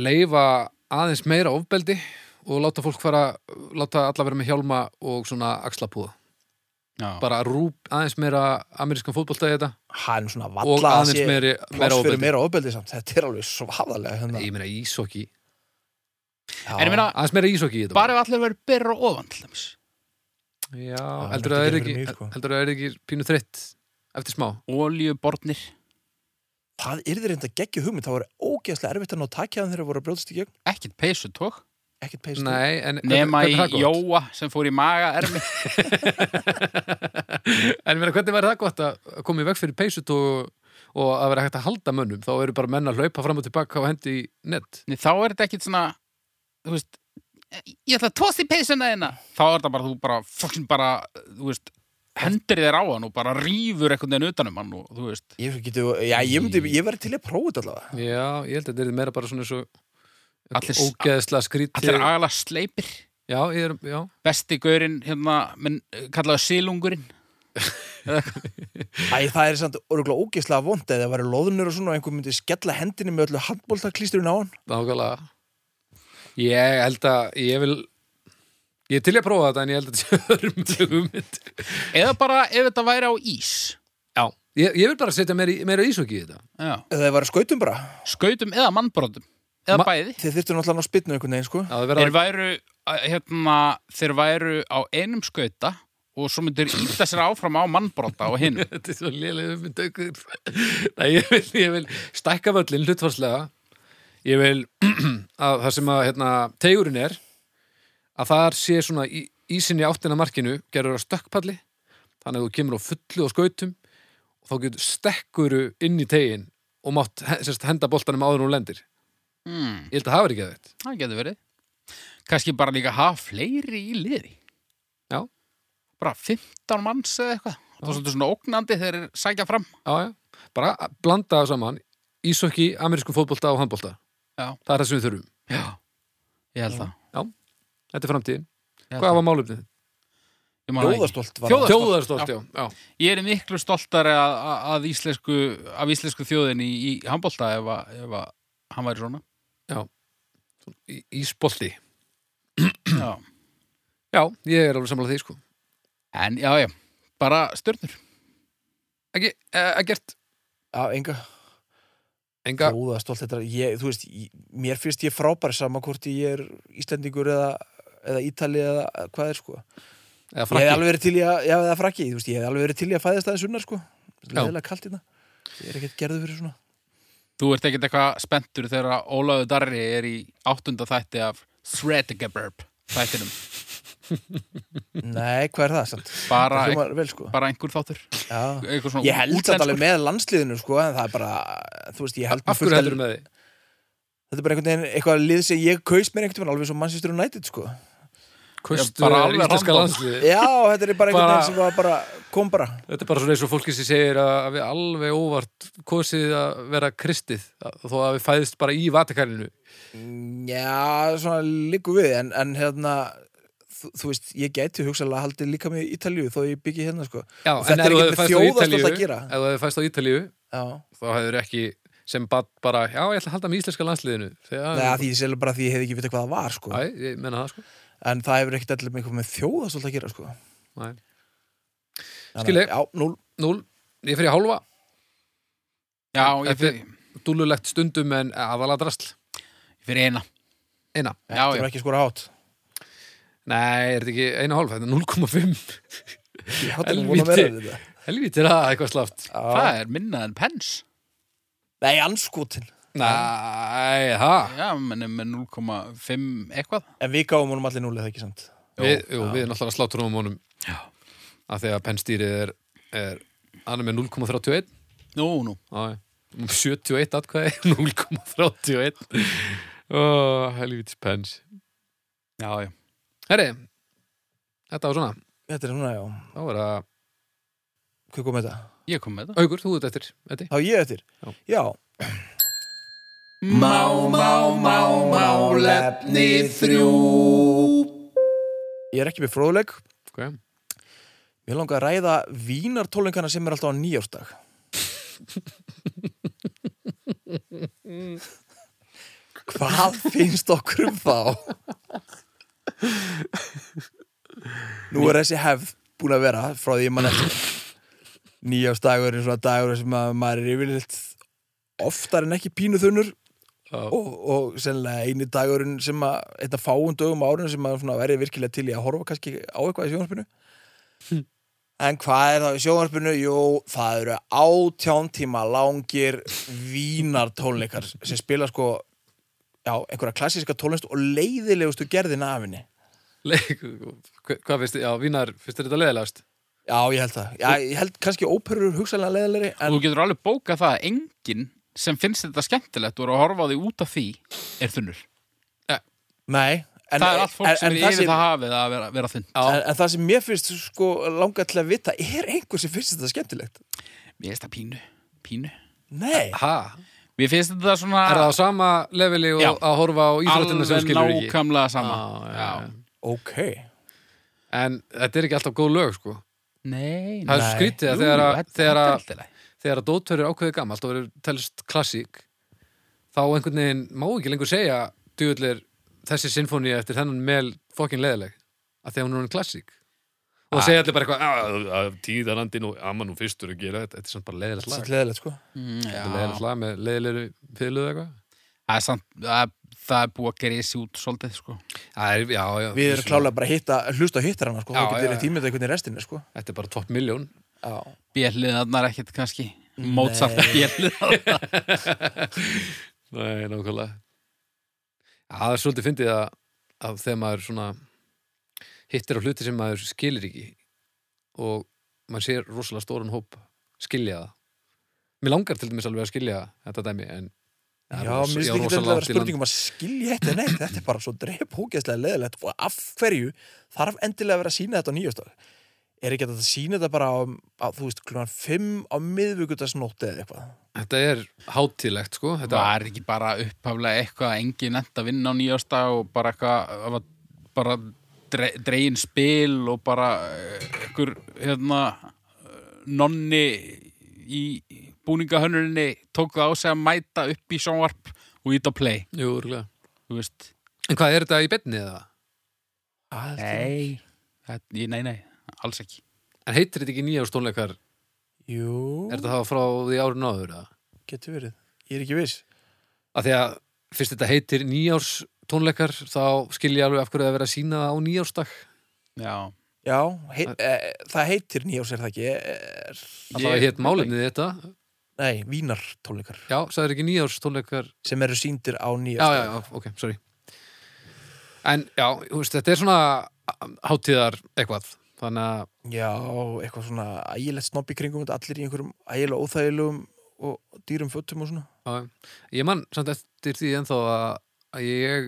[SPEAKER 1] leifa aðeins meira ofbeldi og láta fólk fara láta alla vera með hjálma og svona axlapúða
[SPEAKER 3] já.
[SPEAKER 1] bara rúp aðeins meira amerískan fótbolta í þetta
[SPEAKER 2] Hann svona
[SPEAKER 1] og
[SPEAKER 2] valla að
[SPEAKER 1] aðeins
[SPEAKER 2] sé
[SPEAKER 1] meiri, meira
[SPEAKER 2] pláss fyrir
[SPEAKER 1] ofbeldi
[SPEAKER 2] meira ofbeldi samt Þetta er alveg svaðalega hérna.
[SPEAKER 1] Ég meina ísokki
[SPEAKER 2] Já.
[SPEAKER 3] en ég meina,
[SPEAKER 1] aðeins meira ísokki í þetta
[SPEAKER 3] bara ef allir verið byrra ofan til þess
[SPEAKER 1] Já,
[SPEAKER 2] það
[SPEAKER 1] heldur að það er
[SPEAKER 2] getur verið
[SPEAKER 1] ekki
[SPEAKER 2] mjög, sko.
[SPEAKER 1] heldur að það er ekki pínu þreytt eftir smá
[SPEAKER 3] oljubornir
[SPEAKER 2] Það yrði reynda geggju hugmynd, það voru ógeðslega erfitt að ná takjaðan þegar voru að brjóðast í gegn,
[SPEAKER 3] ekkert peysutók
[SPEAKER 2] ekkert peist.
[SPEAKER 1] Nei, en hvernig-
[SPEAKER 3] nema
[SPEAKER 1] hvernig
[SPEAKER 3] í
[SPEAKER 1] er það gott?
[SPEAKER 3] Jóa sem fór í maga ermi
[SPEAKER 1] En ég meina, hvernig væri það gott að að koma í veg fyrir peysut og, og að vera hægt að halda mönnum? Þá eru bara menn að hlaupa fram og tilbaka og hendi í nett.
[SPEAKER 3] Nei, þá er þetta ekkit svona þú veist, ég ætla að tósi peysuna þeina þá er þetta bara, þú bara, fucking bara þú veist, hendur þér á hann og bara rýfur einhvern veginn utan um hann og þú veist,
[SPEAKER 2] Ég, getu, já, ég, myndi, ég verði til í að prófa þetta allavega.
[SPEAKER 1] Já, ég held að þetta er meira bara svona eins og
[SPEAKER 3] Allir-
[SPEAKER 1] ógeðslega skrítið.
[SPEAKER 3] allir agalega sleipir
[SPEAKER 1] Já, ég er, já.
[SPEAKER 3] besti gaurinn, hérna menn, kallaðu silungurinn
[SPEAKER 2] Æ, það er samt örgulega ógeðslega vond eða það væri loðnur og svona og einhver myndi skella hendinni með öllu handbóltaklýsturinn á hann.
[SPEAKER 1] Nákvæmlega. Ég held að, ég vil, ég er til í að prófa þetta en ég held að þetta sé örmulegu mynd.
[SPEAKER 3] eða bara ef þetta væri á ís
[SPEAKER 1] Já. Ég, ég vil bara setja meira, í- meira ísokki í þetta.
[SPEAKER 3] Já.
[SPEAKER 2] Eða það væri skautum bara.
[SPEAKER 3] skautum eða mannbrotum eða
[SPEAKER 1] Ma-
[SPEAKER 3] bæði
[SPEAKER 2] Þeir þyrftu náttúrulega að spytna einhvern veginn, sko.
[SPEAKER 1] Já, það
[SPEAKER 3] þeir
[SPEAKER 1] verða,
[SPEAKER 3] væru, að, hérna, þeir væru á einum skauta og svo myndir íta sér áfram á mannbrota og hinum
[SPEAKER 1] þetta er svo lélega mynd aukur. Nei, ég vil, ég vil stækka völlin hlutfarslega. Ég vil að það sem að hérna, tegurinn er að þar sé svona í, ísinn í áttina markinu gerður á stökkpalli þannig að þú kemur á fullu og skautum og þá getur stekkuru inn í tegin og mátt he- sérst, henda boltanum áður en hún lendir
[SPEAKER 3] Hmm,
[SPEAKER 1] Ég held að það verið ekki þetta.
[SPEAKER 3] það getur verið. Kannski bara líka hafa fleiri í liði.
[SPEAKER 1] Já.
[SPEAKER 3] Bara 15 manns eða eitthvað. Það er svolítið svona ógnandi þegar þeir sækja fram.
[SPEAKER 1] Já, já. Bara að blanda það saman ísokki, amerísku fótbolta og handbolta.
[SPEAKER 3] Já.
[SPEAKER 1] Það er það sem við þurfum.
[SPEAKER 3] Já. Ég held það.
[SPEAKER 1] Þetta er framtíðin.
[SPEAKER 3] Ég held
[SPEAKER 1] Hvað
[SPEAKER 3] það.
[SPEAKER 1] var málefnið?
[SPEAKER 3] Ég man það ekki.
[SPEAKER 2] Þjóðastolt var
[SPEAKER 3] Þjóða-
[SPEAKER 2] það.
[SPEAKER 1] Þjóðarstolt, já. já.
[SPEAKER 3] Ég er miklu stoltari að, að, að íslensku, af íslensku þjóðinni í, í handbólta ef, að- ef að hann væri svona.
[SPEAKER 1] Í, ísbolti.
[SPEAKER 3] Já.
[SPEAKER 1] Já, ég er alveg samlega því, sko.
[SPEAKER 3] En já, já, bara stjörnur.
[SPEAKER 1] Ekki, e, ekkert.
[SPEAKER 2] Já, enga.
[SPEAKER 1] Enga.
[SPEAKER 2] Þjóðastolt þetta. er- Ég, þú veist, ég, mér finnst ég frábær sama hvort ég er Íslendingur eða, eða Ítali eða hvað er sko.
[SPEAKER 1] Eða
[SPEAKER 2] Ég hef
[SPEAKER 1] frakki.
[SPEAKER 2] alveg verið til í að, já, eða frakki, þú veist, ég hef alveg verið til í að fæðast aðeins unnar sko. Leðilega kalt hérna. Ég er ekkert gerður fyrir svona.
[SPEAKER 3] Þú ert ekkert eitthvað spenntur þegar Ólaður Darri er í áttunda þætti af Threadgaburb þættinum.
[SPEAKER 2] Nei, hvað er það? samt?
[SPEAKER 3] Bara,
[SPEAKER 2] Það hljómar vel sko.
[SPEAKER 3] bara einhver þáttur.
[SPEAKER 2] Já.
[SPEAKER 3] Eitthvað svona
[SPEAKER 2] Ég held þetta
[SPEAKER 3] útlenskur.
[SPEAKER 2] alveg með landsliðinu sko, en það er bara, þú veist, ég held
[SPEAKER 1] Af
[SPEAKER 2] fullt
[SPEAKER 1] hverju
[SPEAKER 2] af-
[SPEAKER 1] heldur með því?
[SPEAKER 2] Þetta er bara einhvern veginn, eitthvað lið sem ég kaust mér einhvern veginn alveg svo Manchester United sko.
[SPEAKER 1] Eh. Kustu
[SPEAKER 3] bara alveg
[SPEAKER 1] íslenska
[SPEAKER 3] random.
[SPEAKER 1] landsliði.
[SPEAKER 2] Já, þetta er bara einhvern
[SPEAKER 1] Bara-
[SPEAKER 2] veginn sem var bara, kom bara.
[SPEAKER 1] Þetta er bara svona eins og fólki sem segir að að við alveg óvart kosið að vera kristið að- þó að við fæðist bara í Vatikaninu.
[SPEAKER 2] Já, svona líku við, en, en hérna, þú, þú veist, ég gæti hugsalega haldið líka með Ítalíu þó ég byggi hérna sko.
[SPEAKER 1] Já,
[SPEAKER 2] Og
[SPEAKER 1] en
[SPEAKER 2] þetta er
[SPEAKER 1] ef þú
[SPEAKER 2] ekkert
[SPEAKER 1] hefði
[SPEAKER 2] með
[SPEAKER 1] fæðst á
[SPEAKER 2] þjóðarstolt
[SPEAKER 1] Ítalíu,
[SPEAKER 2] að gera.
[SPEAKER 1] ef þú hefði fæðst á Ítalíu,
[SPEAKER 2] Já,
[SPEAKER 1] þá hefur ekki sem bat bara, já, ég ætla að halda með íslenska landsliðinu. Þegar,
[SPEAKER 2] Nei, því ég selur bara því ég hefði ekki vitað hvað það var sko.
[SPEAKER 1] Æ, ég menna það, sko.
[SPEAKER 2] En það hefur ekkert allir með eitthvað með þjóðastolt að gera sko.
[SPEAKER 1] Nei.
[SPEAKER 2] Þannig að-
[SPEAKER 1] Skil ég.
[SPEAKER 2] Já, núl.
[SPEAKER 1] Núl, ég fyrir hálfa,
[SPEAKER 3] Já, ég
[SPEAKER 1] Þetta-
[SPEAKER 3] fyrir,
[SPEAKER 1] dúlulegt stundum en aðalega drasl.
[SPEAKER 3] ég fyrir eina.
[SPEAKER 1] Eina.
[SPEAKER 3] Já,
[SPEAKER 2] Þetta er
[SPEAKER 3] já.
[SPEAKER 2] ekki skora hátt.
[SPEAKER 1] Nei, er þetta ekki eina og hálfa, þetta er 0,5.
[SPEAKER 2] Ég hátt ekki búin að vera
[SPEAKER 1] Helvíti.
[SPEAKER 2] þetta.
[SPEAKER 1] Helvítið er það eitthvað slaft.
[SPEAKER 2] Já.
[SPEAKER 3] Það er minna en pens.
[SPEAKER 2] Nei, anskotin.
[SPEAKER 1] Nei, það.
[SPEAKER 3] Já, menn er með 0,5 eitthvað.
[SPEAKER 2] En við gáum honum allir núlið, það ekki sant?
[SPEAKER 1] Við, jú, við náttúrulega sláturum um honum
[SPEAKER 3] Já.
[SPEAKER 1] að því að pennstýrið er, er hann er með 0,31
[SPEAKER 3] Nú, nú.
[SPEAKER 1] Já, já. 71 atkvæði 0,31 Ó, helvítis pens
[SPEAKER 3] Já, já.
[SPEAKER 1] Herri, þetta var svona
[SPEAKER 2] Þetta er svona, já.
[SPEAKER 1] þá var það,
[SPEAKER 2] Hvað kom þetta?
[SPEAKER 3] Ég kom með það.
[SPEAKER 1] aukur, þú ert eftir Eddi.
[SPEAKER 2] Þá ég eftir?
[SPEAKER 1] Já.
[SPEAKER 2] Já.
[SPEAKER 3] Má, má, má, málefni þrjú.
[SPEAKER 2] Ég er ekki með fróðuleik.
[SPEAKER 1] okay.
[SPEAKER 2] Mér langar að ræða vínartólingana sem er alltaf á nýjársdag. Hvað finnst okkur um þá? Nú er þessi hefð búin að vera frá því ég mann eftir. Nýjársdagur er svona dagur sem að maður er yfirleitt oftar en ekki pínu þunnur
[SPEAKER 1] Já,
[SPEAKER 2] og, og sennilega eini dagurinn sem að þetta fáum dögum árinu sem að svona verið virkilega til í að horfa kannski á eitthvað í sjónvarpinu en hvað er það í sjónvarpinu? Jú, það eru átján tíma langir vínartónleikar sem spila sko já, einhverja klassíska tónlist og leiðilegustu gerðina af henni
[SPEAKER 1] leik hva- Hvað finnst þið, já, vínar, finnst þið þetta leðilegast?
[SPEAKER 2] Já, ég held það. Já, ég held kannski óperur hugsalega leiðilegri en
[SPEAKER 3] Þú getur alveg bókað það að enginn sem finnst þetta skemmtilegt og er að horfa á því út af því er þunnur.
[SPEAKER 2] nei en,
[SPEAKER 3] það er allt fólk
[SPEAKER 2] en-
[SPEAKER 3] sem
[SPEAKER 2] en
[SPEAKER 3] er
[SPEAKER 2] það
[SPEAKER 3] yfir það hafið að vera, vera þunn.
[SPEAKER 2] En, en það sem mér finnst sko langar til að vita er einhver sem finnst þetta skemmtilegt?
[SPEAKER 3] Mér finnst það pínu, pínu.
[SPEAKER 2] Nei
[SPEAKER 1] Ha,
[SPEAKER 3] Mér finnst þetta svona
[SPEAKER 1] er það á sama leveli og
[SPEAKER 3] Já.
[SPEAKER 1] að horfa á íþróttina sem þú
[SPEAKER 3] alveg
[SPEAKER 1] skilur ekki?
[SPEAKER 3] nákvæmlega sama.
[SPEAKER 1] Já, já, já.
[SPEAKER 2] Ok
[SPEAKER 1] En þetta er ekki alltaf góð lög, sko Það
[SPEAKER 3] Nei,
[SPEAKER 1] er
[SPEAKER 2] Nei.
[SPEAKER 1] svo skrítið
[SPEAKER 3] Jú,
[SPEAKER 1] að þegar að-
[SPEAKER 3] þetta-
[SPEAKER 1] þegar
[SPEAKER 3] þetta er
[SPEAKER 1] að
[SPEAKER 3] allt í lagi.
[SPEAKER 1] þegar að dótör er ákveðið gamalt og verður telst klassík þá einhvern veginn má ekki lengur segja djúvillir þessi sinfóni eftir þennan mel fokkin leðileg að því að hún er hún klassík og það segja allir bara eitthvað "Ah,
[SPEAKER 4] Tíðarandin og amman og fyrstur að gera þetta Þetta er samt bara leðilegt
[SPEAKER 2] Satt
[SPEAKER 4] lag
[SPEAKER 2] leðilegt sko
[SPEAKER 3] Mm, já.
[SPEAKER 1] þetta er leðilegt lag með leðilegri fylgðu eitthvað
[SPEAKER 3] Það er samt, það er- það er búið að gera þessi út svolítið, sko.
[SPEAKER 1] Það er- já, já,
[SPEAKER 2] Við erum klálega bara að hitta, hlusta á hittar hana sko
[SPEAKER 1] Já,
[SPEAKER 2] Það
[SPEAKER 1] já,
[SPEAKER 2] getur
[SPEAKER 1] já.
[SPEAKER 2] eitt ímynda einhvern í restinni sko
[SPEAKER 1] þetta er bara topp miljón
[SPEAKER 2] Já
[SPEAKER 3] Bélliðarnar ekkert kannski. Mozart bélliðarnar.
[SPEAKER 1] Nei, nákvæmlega Já, það er svolítið fyndið að, að þegar maður svona hittir á hluti sem maður skilir ekki og maður sér rosalega stóran hóp skilja það Mér langar til dæmis alveg að skilja þetta dæmi en Það er
[SPEAKER 2] Já,
[SPEAKER 1] rosa- já,
[SPEAKER 2] mér finnst ekki
[SPEAKER 1] rosa
[SPEAKER 2] þetta
[SPEAKER 1] langt
[SPEAKER 2] að vera
[SPEAKER 1] í
[SPEAKER 2] spurning um að skilja þetta, nei, þetta er bara svo dreip hókjæslega leðilegt og af hverju þarf endilega að vera að sína þetta á nýjastöð er ekki hægt að sína þetta bara á, á þú veist, klugan 5 á miðvíkudagsnótt eða eitthvað
[SPEAKER 1] Þetta er hátílegt sko Þetta
[SPEAKER 3] Var ekki bara upphaflega eitthvað að engin enda að vinna á nýjasta og bara eitthvað það var bara dre, dregin spil og bara eh, einhver hérna eh, nonni í búningahönnurinni tók það á sig að mæta upp í sjónvarp og ít á play,
[SPEAKER 1] Jú, örugglega.
[SPEAKER 3] þú veist
[SPEAKER 1] En hvað er þetta í beinni eða?
[SPEAKER 3] Nei Þetta, ég- Nei, nei, alls ekki
[SPEAKER 1] En heitir þetta ekki nýjárs tónleikar?
[SPEAKER 2] Jú,
[SPEAKER 1] Er þetta þá frá því árið náður eða?
[SPEAKER 2] getur verið Ég er ekki viss
[SPEAKER 1] Af því að fyrst þetta heitir nýjárs tónleikar þá skil ég alveg af hverju það er verið að sína það á nýjársdag
[SPEAKER 3] Já,
[SPEAKER 2] Já, hei, e, það heitir nýjás er það ekki e,
[SPEAKER 1] Alltaf að
[SPEAKER 3] Ég-
[SPEAKER 1] hétt málefnið þetta
[SPEAKER 2] Nei, vínartónleikar
[SPEAKER 1] Já, sagður ekki nýjárs tónleikar
[SPEAKER 2] sem eru síndir á
[SPEAKER 1] já,
[SPEAKER 2] nýjast
[SPEAKER 1] já, já, ok, sorry En já, þú veist, þetta er svona um, hátíðar eitthvað Þannig að
[SPEAKER 2] Já, eitthvað svona ægilegt snopp í kringum þetta, allir í einhverjum ægilega óþægilegum og dýrum fötum og svona
[SPEAKER 1] Já, ég man samt eftir því ennþá að að ég,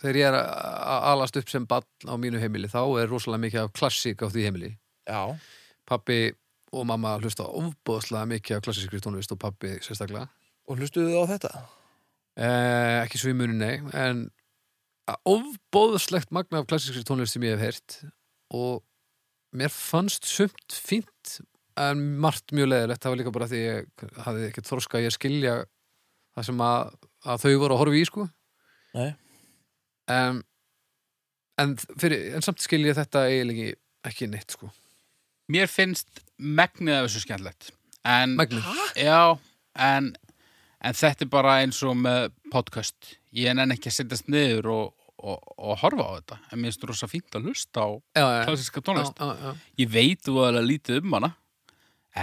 [SPEAKER 1] þegar ég er að- að alast upp sem ball á mínu heimili þá er rosalega mikið af klassík á því heimili
[SPEAKER 2] Já,
[SPEAKER 1] pappi og mamma hlusta ofbóðslega mikið af klassískri tónlist og pappi sérstaklega
[SPEAKER 2] og hlustuðu þið á þetta?
[SPEAKER 1] eh, ekki svo í muni nei en að ofbóðslegt magna af klassískri tónlist sem ég hef heyrt og mér fannst sumt fínt en margt mjög leðilegt það var líka bara því ég hafði ekkert þroska ég skilja það sem að, að þau voru að horfa í sko
[SPEAKER 2] Nei.
[SPEAKER 1] um, en, fyrir, en samt skil ég þetta eiginlega ekki- ekki neitt sko
[SPEAKER 3] mér finnst megnið af þessu skemmtilegt En
[SPEAKER 1] Magnus,
[SPEAKER 3] Já, en, en þetta er bara eins og með podcast. Ég nenn ekki að setjast niður og, og, og horfa á þetta. En mér finnst rosa fínt að hlusta á
[SPEAKER 1] já, já,
[SPEAKER 3] klassiska
[SPEAKER 1] já,
[SPEAKER 3] tónlist.
[SPEAKER 1] já, já.
[SPEAKER 3] Ég veit þú að lítið um hana,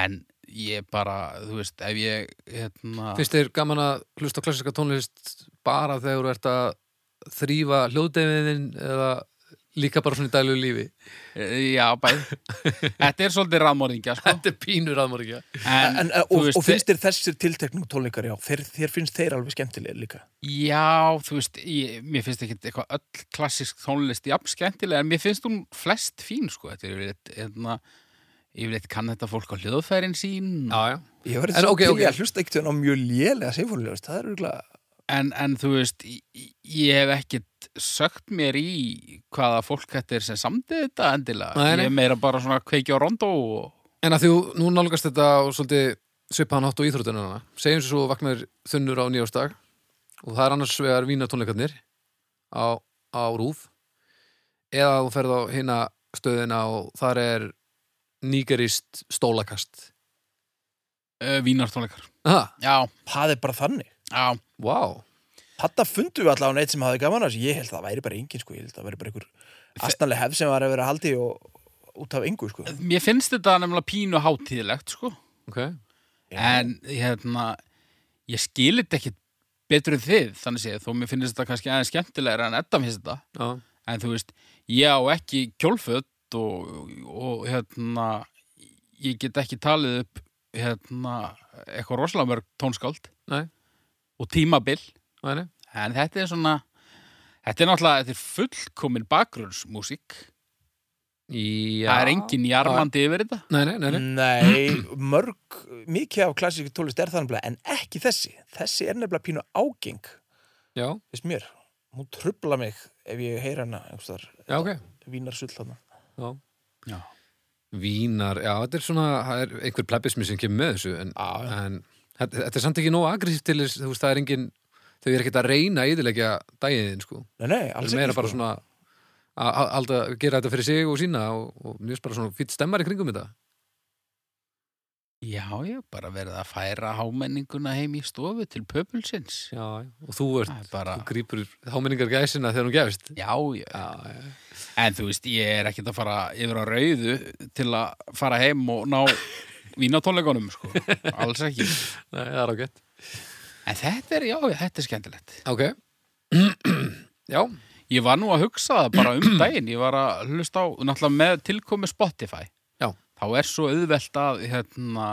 [SPEAKER 3] en ég bara, þú veist, ef ég, hérna...
[SPEAKER 1] finnst þér gaman að hlusta á klassiska tónlist bara þegar þú ert að þrýfa hljóðdeifiðin eða líka bara svona í dælu lífi
[SPEAKER 3] Já, bæð. þetta er svolítið rafmóringja, sko.
[SPEAKER 1] þetta er pínur aðmorgja
[SPEAKER 3] En,
[SPEAKER 2] En,
[SPEAKER 3] þú
[SPEAKER 2] og,
[SPEAKER 3] veist,
[SPEAKER 2] og finnst þér þessir tilteknum tónleikar, já, þeir, þér finnst þeir alveg skemmtilega líka?
[SPEAKER 3] Já, þú veist, ég, mér finnst ekki eitthvað öll klassisk tónlist jafn skemmtilega, en mér finnst hún flest fín, sko. Þetta er yfirleitt, hérna, yfirleitt kann þetta fólk á hljóðfærin sín.
[SPEAKER 1] já, já.
[SPEAKER 2] Ég verði
[SPEAKER 1] En
[SPEAKER 2] svo
[SPEAKER 1] ok,
[SPEAKER 2] okay, til
[SPEAKER 1] ok.
[SPEAKER 2] í að hlusta ekkert á mjög lélega symfónilegust, það er örgulega...
[SPEAKER 3] En, en þú veist, í- í- ég hef ekkit sögt mér í hvaða fólk þetta er sem samdið þetta endilega.
[SPEAKER 1] Nei, nei.
[SPEAKER 3] Ég er meira bara svona að kveikja á rondó og...
[SPEAKER 1] en að þú, nú nálgast þetta og svolítið svipaðan átt og íþrótunarna segjum sem svo vagnar þunnur á nýjástag og það er annars vegar vínatónleikarnir á, á rúf eða þú ferð á hina stöðina og þar er nýgerist stólakast
[SPEAKER 3] Uh, vínartónleikar.
[SPEAKER 1] aha,
[SPEAKER 3] Já,
[SPEAKER 2] Það er bara þannig.
[SPEAKER 3] já,
[SPEAKER 1] wow
[SPEAKER 2] Þetta fundum við allavega neitt sem hafði gaman að þessu, ég held að það væri bara engin, sko, ég held að það væri bara einhver astanlega hef sem var að vera haldi og út af engu, sko.
[SPEAKER 3] mér finnst þetta nefnilega pínu hátíðilegt, sko.
[SPEAKER 1] okay.
[SPEAKER 3] En, hérna, ég skil þetta ekkit betur en þið, þannig séð, þó mér finnst þetta kannski aðeins skemmtilegra en Edda finnst þetta.
[SPEAKER 1] já.
[SPEAKER 3] En þú veist, ég á ekki kjólföt og, og hérna, ég get ekki talið upp hérna, eitthvað rosalega mörg tónskáld
[SPEAKER 1] Nei.
[SPEAKER 3] og tímabil.
[SPEAKER 1] Nei, nei.
[SPEAKER 3] En þetta er svona, þetta er náttúrulega, þetta er fullkomin bakgrunnsmúsík.
[SPEAKER 1] Já.
[SPEAKER 3] Það er engin jarmandi yfir þetta.
[SPEAKER 1] Nei, nei, nei, nei.
[SPEAKER 2] Nei, mörg, mikið af klassíku tólist er það nefnilega, en ekki þessi. Þessi er nefnilega pínu ágeng,
[SPEAKER 1] Já,
[SPEAKER 2] veist mér. Hún trubla mig ef ég heyra hana, einhvers þar,
[SPEAKER 1] já, ok
[SPEAKER 2] vínar sull hana.
[SPEAKER 1] já.
[SPEAKER 3] Já.
[SPEAKER 1] Vínar, já, þetta er svona það er einhver plebismi sem kemur með þessu en,
[SPEAKER 2] Já, já.
[SPEAKER 1] en þetta, þetta er samt ekki nóg aggressíft til þess, þú veist, það er engin þau er ekkert að reyna að yðurleggja dagiðin, sko
[SPEAKER 2] Nei, nei,
[SPEAKER 1] Það
[SPEAKER 2] alls
[SPEAKER 1] er
[SPEAKER 2] ekki, sko.
[SPEAKER 1] meira bara svona að að- halda, gera þetta fyrir sig og sína og, og mjög bara svona fýtt stemmar í kringum þetta
[SPEAKER 3] Já, já, bara verið að færa hámenninguna heim í stofu til pöpulsins.
[SPEAKER 1] Já, já, og þú ert,
[SPEAKER 3] Það er bara,
[SPEAKER 1] þú grípur hámenningar gæsina þegar hún gefist
[SPEAKER 3] já, já.
[SPEAKER 1] Já, já,
[SPEAKER 3] En þú veist, ég er ekkert að fara yfir á rauðu til að fara heim og ná vínatónleikunum, sko. Alls ekki.
[SPEAKER 1] Nei, það er ágætt
[SPEAKER 3] En þetta er, já, já, þetta er skemmtilegt.
[SPEAKER 1] Ok, já,
[SPEAKER 3] Ég var nú að hugsa það bara um daginn. Ég var að hlusta á, náttúrulega með tilkomi Spotify.
[SPEAKER 1] Já.
[SPEAKER 3] Þá er svo auðvelt að, hérna,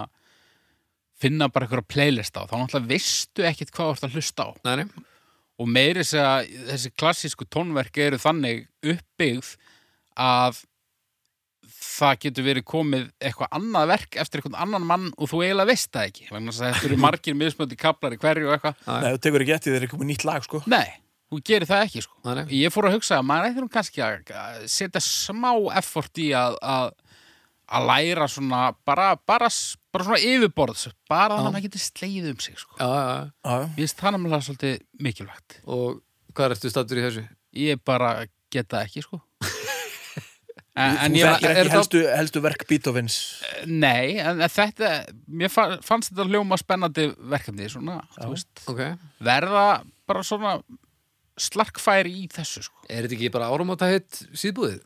[SPEAKER 3] finna bara einhverja playlist á þá náttúrulega veistu ekkit hvað þú ert að hlusta á
[SPEAKER 1] Nei, nei.
[SPEAKER 3] og meiri þess að þessi klassísku tónverk eru þannig uppbyggð að það getur verið komið eitthvað annað verk eftir eitthvað annan mann og þú eiginlega veist það ekki vegna þess að þetta eru margir mismöndi kaplar í hverju og eitthvað
[SPEAKER 2] Nei, þú tekur ekki eftir þegar er komið nýtt lag, sko
[SPEAKER 3] nei, þú gerir það ekki sko.
[SPEAKER 1] Nei, nei.
[SPEAKER 3] ég fór að hugsa að maður eitthvað kannski að að setja smá effort í að, að að læra svona bara, bara, s- bara svona yfirborðs bara þannig að maður getur sleið um sig sko.
[SPEAKER 1] Já, já, já.
[SPEAKER 2] Já, já.
[SPEAKER 3] mér finnst það náttúrulega svolítið mikilvægt
[SPEAKER 1] Og hvað ertu stattur í þessu?
[SPEAKER 3] Ég bara geta ekki, sko. en, en
[SPEAKER 2] Þú
[SPEAKER 3] ég
[SPEAKER 2] þekkir
[SPEAKER 3] var,
[SPEAKER 1] er
[SPEAKER 2] ekki
[SPEAKER 1] þá-
[SPEAKER 2] helstu, helstu verk Beethovens
[SPEAKER 3] nei, en þetta, mér fa- fannst þetta hljóma spennandi verkefni, svona, þú veist,
[SPEAKER 1] Ok.
[SPEAKER 3] verða bara svona slarkfæri í þessu, sko.
[SPEAKER 1] Er þetta ekki bara áramóta hitt síðbúðið?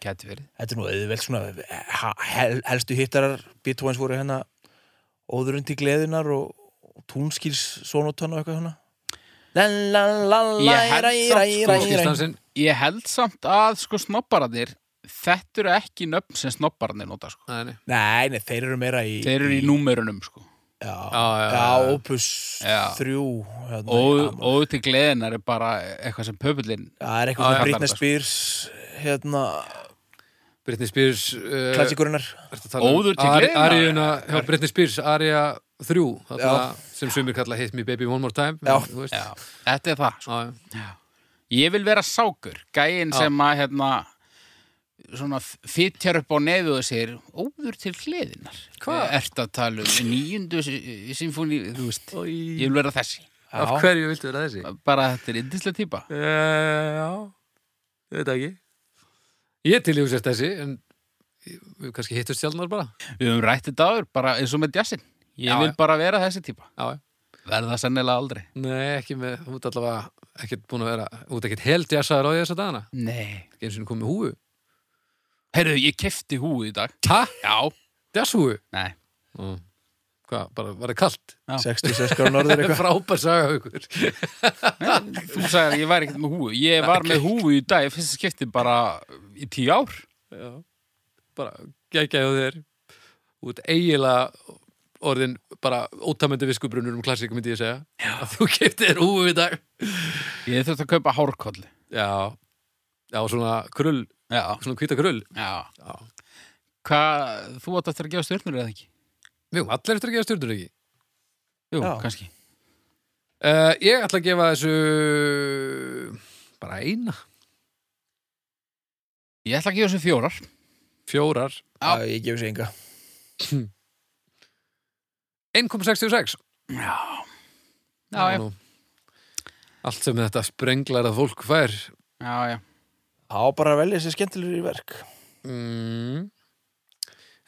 [SPEAKER 3] Gæti verið.
[SPEAKER 2] Þetta er nú auðvelt svona ha- hel, helstu hittarar Beethovens voru hérna Óðurinn til gleðinar og, og túnskýrs sonotana og eitthvað svona La la la la
[SPEAKER 3] Ég held
[SPEAKER 2] ræ,
[SPEAKER 3] samt,
[SPEAKER 2] ræ, ræ,
[SPEAKER 3] sko,
[SPEAKER 2] ræ.
[SPEAKER 1] Skýrstansin?
[SPEAKER 3] Ég held samt að, sko, snobbararnir, þetta eru ekki nöfn sem snobbararnir nota, sko.
[SPEAKER 1] Nei, nei.
[SPEAKER 2] Nei, nei, þeir eru meira í
[SPEAKER 3] Þeir eru í númerunum, sko.
[SPEAKER 2] Já,
[SPEAKER 1] já,
[SPEAKER 2] já, opus
[SPEAKER 3] Já.
[SPEAKER 2] þrjú hérna, í
[SPEAKER 3] Og,
[SPEAKER 2] Amor.
[SPEAKER 3] og til gleðinar er bara eitthvað sem pöpullin,
[SPEAKER 2] Það er
[SPEAKER 1] Já,
[SPEAKER 2] eitthvað
[SPEAKER 1] já.
[SPEAKER 2] svona Britney Spears hérna,
[SPEAKER 1] Britney Spears uh,
[SPEAKER 2] klassikurinnar
[SPEAKER 1] ertu að tala um
[SPEAKER 3] Óður til
[SPEAKER 1] Ari-
[SPEAKER 3] gleðinnar?
[SPEAKER 1] Aríuna hjá Britney Spears, Arija 3 þarna,
[SPEAKER 2] Já.
[SPEAKER 1] sem sumir kalla Hit Me Baby One More Time
[SPEAKER 2] Já.
[SPEAKER 1] þú veist.
[SPEAKER 3] já, þetta er það, sko.
[SPEAKER 1] Já, já.
[SPEAKER 3] Ég vil vera sákur, gæinn
[SPEAKER 1] Já.
[SPEAKER 3] sem að hérna svona fytjar upp á nefið og segir óður til hliðinar.
[SPEAKER 1] Hvað?
[SPEAKER 3] Ert að tala um nýjundu sinfóni, þú veist, ég
[SPEAKER 1] Í-
[SPEAKER 3] vil vera þessi.
[SPEAKER 1] Af
[SPEAKER 2] Já.
[SPEAKER 1] hverju viltu vera þessi?
[SPEAKER 3] Bara þetta er yndislega típa.
[SPEAKER 1] Uh, já, ég veit það ekki Ég til ég sérst þessi en við kannski hittust sjálfnar bara
[SPEAKER 3] Við höfum rætt þetta áður, bara eins og með jazzin. Ég
[SPEAKER 1] Já,
[SPEAKER 3] vil
[SPEAKER 1] já.
[SPEAKER 3] bara vera þessi típa.
[SPEAKER 1] Já, já.
[SPEAKER 3] Verða sennilega aldrei.
[SPEAKER 1] Nei, ekki með, þú ert allavega ekkert búin að vera, þú ert ekkert held jæsaður á því þessa dagana,
[SPEAKER 3] Nei.
[SPEAKER 1] ekki eins og komið húfu
[SPEAKER 3] Herðu, ég kefti húi í dag.
[SPEAKER 1] Ha?
[SPEAKER 3] Já.
[SPEAKER 1] Jæshúfu?
[SPEAKER 3] Nei.
[SPEAKER 1] Hvað, bara var það kalt?
[SPEAKER 2] 66 gráður norður eitthvað
[SPEAKER 1] Frábær saga haukur
[SPEAKER 3] Nei, Þú sagðir að ég væri ekkert með húi. Ég var með húi í dag, ég finnst að skipti bara í tíu ár.
[SPEAKER 1] Já, bara gægjaðu þér út eiginlega orðin bara ótamöndi viskubrunur um klassíku myndi ég segja Já. að þú keftir þér húfu í dag
[SPEAKER 3] Ég þurfti að kaupa hárkolli.
[SPEAKER 1] Já, já svona krull,
[SPEAKER 3] Já.
[SPEAKER 1] svona hvíta krull
[SPEAKER 3] Já.
[SPEAKER 1] Já.
[SPEAKER 3] Hvað, þú átt eftir að gefa stjörnur eða ekki?
[SPEAKER 1] Jú, allir eftir að gefa stjórnur ekki
[SPEAKER 3] Jú,
[SPEAKER 2] Já.
[SPEAKER 3] kannski.
[SPEAKER 1] uh, Ég ætla að gefa þessu bara eina,
[SPEAKER 3] Ég ætla að gefa þessu fjórar.
[SPEAKER 1] fjórar
[SPEAKER 3] Já.
[SPEAKER 2] Já, Ég gefur sér enga
[SPEAKER 1] 1,66
[SPEAKER 3] Já. Já,
[SPEAKER 1] Það
[SPEAKER 3] já.
[SPEAKER 1] er nú Allt sem þetta sprenglar að fólk fær
[SPEAKER 3] Já, já.
[SPEAKER 2] Á bara að velja sér skemmtilegur í verk
[SPEAKER 1] mm.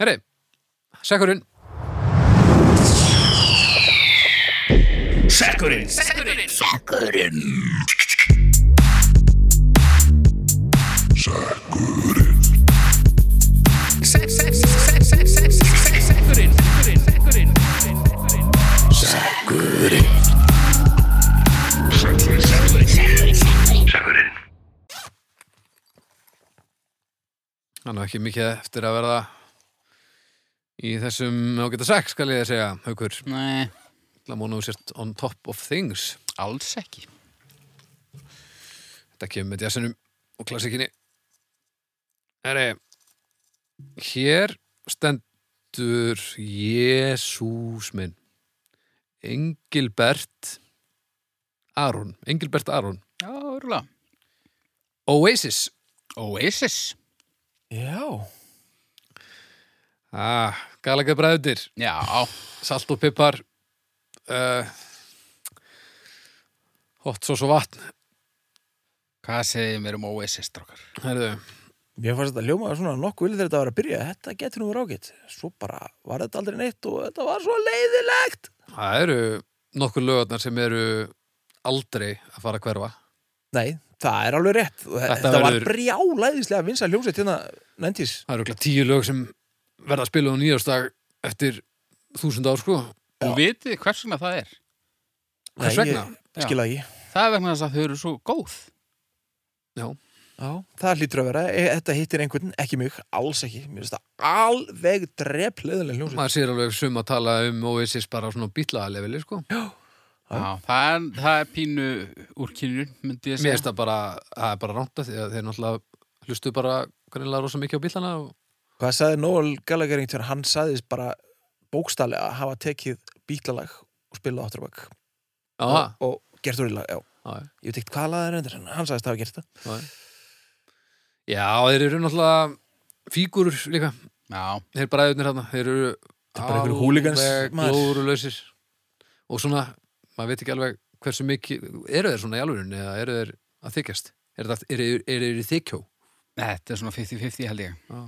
[SPEAKER 1] Herri, sekkurinn Hann er ekki mikið eftir að verða í þessum ágæta sekk skal ég segja, haukur
[SPEAKER 3] Nei,
[SPEAKER 1] Lamónu sért on top of things
[SPEAKER 3] alls ekki.
[SPEAKER 1] Þetta kemur með jazzinum og klassikinni Herri Hér stendur Jésús minn Engilbert Aron Engilbert Aron
[SPEAKER 3] Já, örgulega.
[SPEAKER 1] Oasis
[SPEAKER 3] Oasis.
[SPEAKER 2] Já
[SPEAKER 1] ah, Galaga bræðutir
[SPEAKER 3] Já,
[SPEAKER 1] salt og pipar uh, hot sós og vatn
[SPEAKER 3] hvað segir mér um Oasis, strókar?
[SPEAKER 1] Herðu,
[SPEAKER 2] Mér fannst þetta ljómaður svona nokkuð vilja þegar þetta var að byrja Þetta getur nú rákitt Svo bara var þetta aldrei neitt og þetta var svo leiðilegt
[SPEAKER 1] það eru nokkur lögarnar sem eru aldrei að fara að hverfa
[SPEAKER 2] Nei, það er alveg rétt og Þetta,
[SPEAKER 1] Þetta
[SPEAKER 2] þetta var
[SPEAKER 1] verður-
[SPEAKER 2] brjálæðislega vinsa hljómsveit hérna nendis
[SPEAKER 1] það eru örugglega tíu lög sem verða að spila á nýjastag eftir þúsund ár sko
[SPEAKER 3] Og vitið þið hvers vegna það er?
[SPEAKER 1] hvers vegna?
[SPEAKER 2] Skil að ekki
[SPEAKER 3] Það er vegna þess að þau eru svo góð.
[SPEAKER 1] Já.
[SPEAKER 3] Já.
[SPEAKER 2] Já, það hlýtur að vera, E- þetta hittir einhvern, ekki mig, alls ekki, mér finnst það alveg drepleðileg hljómsveit.
[SPEAKER 1] maður sér alveg sum að tala um Oasis bara á svona bílaðaleveli sko
[SPEAKER 3] Já, það er, það er pínu úrkynjur, myndi ég
[SPEAKER 1] mér finnst
[SPEAKER 3] segja.
[SPEAKER 1] það bara, það er bara ránta því að þeir náttúrulega hlustu bara greinlega rosa mikið á bílana og
[SPEAKER 2] Hvað sagði Noel Gallagher einhvern tímann, hann sagðist bara bókstallega að hafa tekið bítlalag og spilað áttur á bak
[SPEAKER 1] Já,
[SPEAKER 2] og,
[SPEAKER 1] það.
[SPEAKER 2] og gert úr í lag, já.
[SPEAKER 1] Já, já.
[SPEAKER 2] Ég veit ekkert hvað lag er undir, en hann sagðist hafa gert það.
[SPEAKER 1] Já, þeir eru náttúrulega fígurur líka,
[SPEAKER 3] Já,
[SPEAKER 1] þeir bræðurnir hérna, þeir eru
[SPEAKER 2] er bara einhverjir hooligans, maður.
[SPEAKER 1] glórulausir og svona, maður veit ekki alveg hversu mikið, eru þeir svona í alvörun eða eru þeir að þykjast eru þeir, eru, eru þeir í þykjó
[SPEAKER 3] þetta er svona 50-50 held ég.
[SPEAKER 1] Já.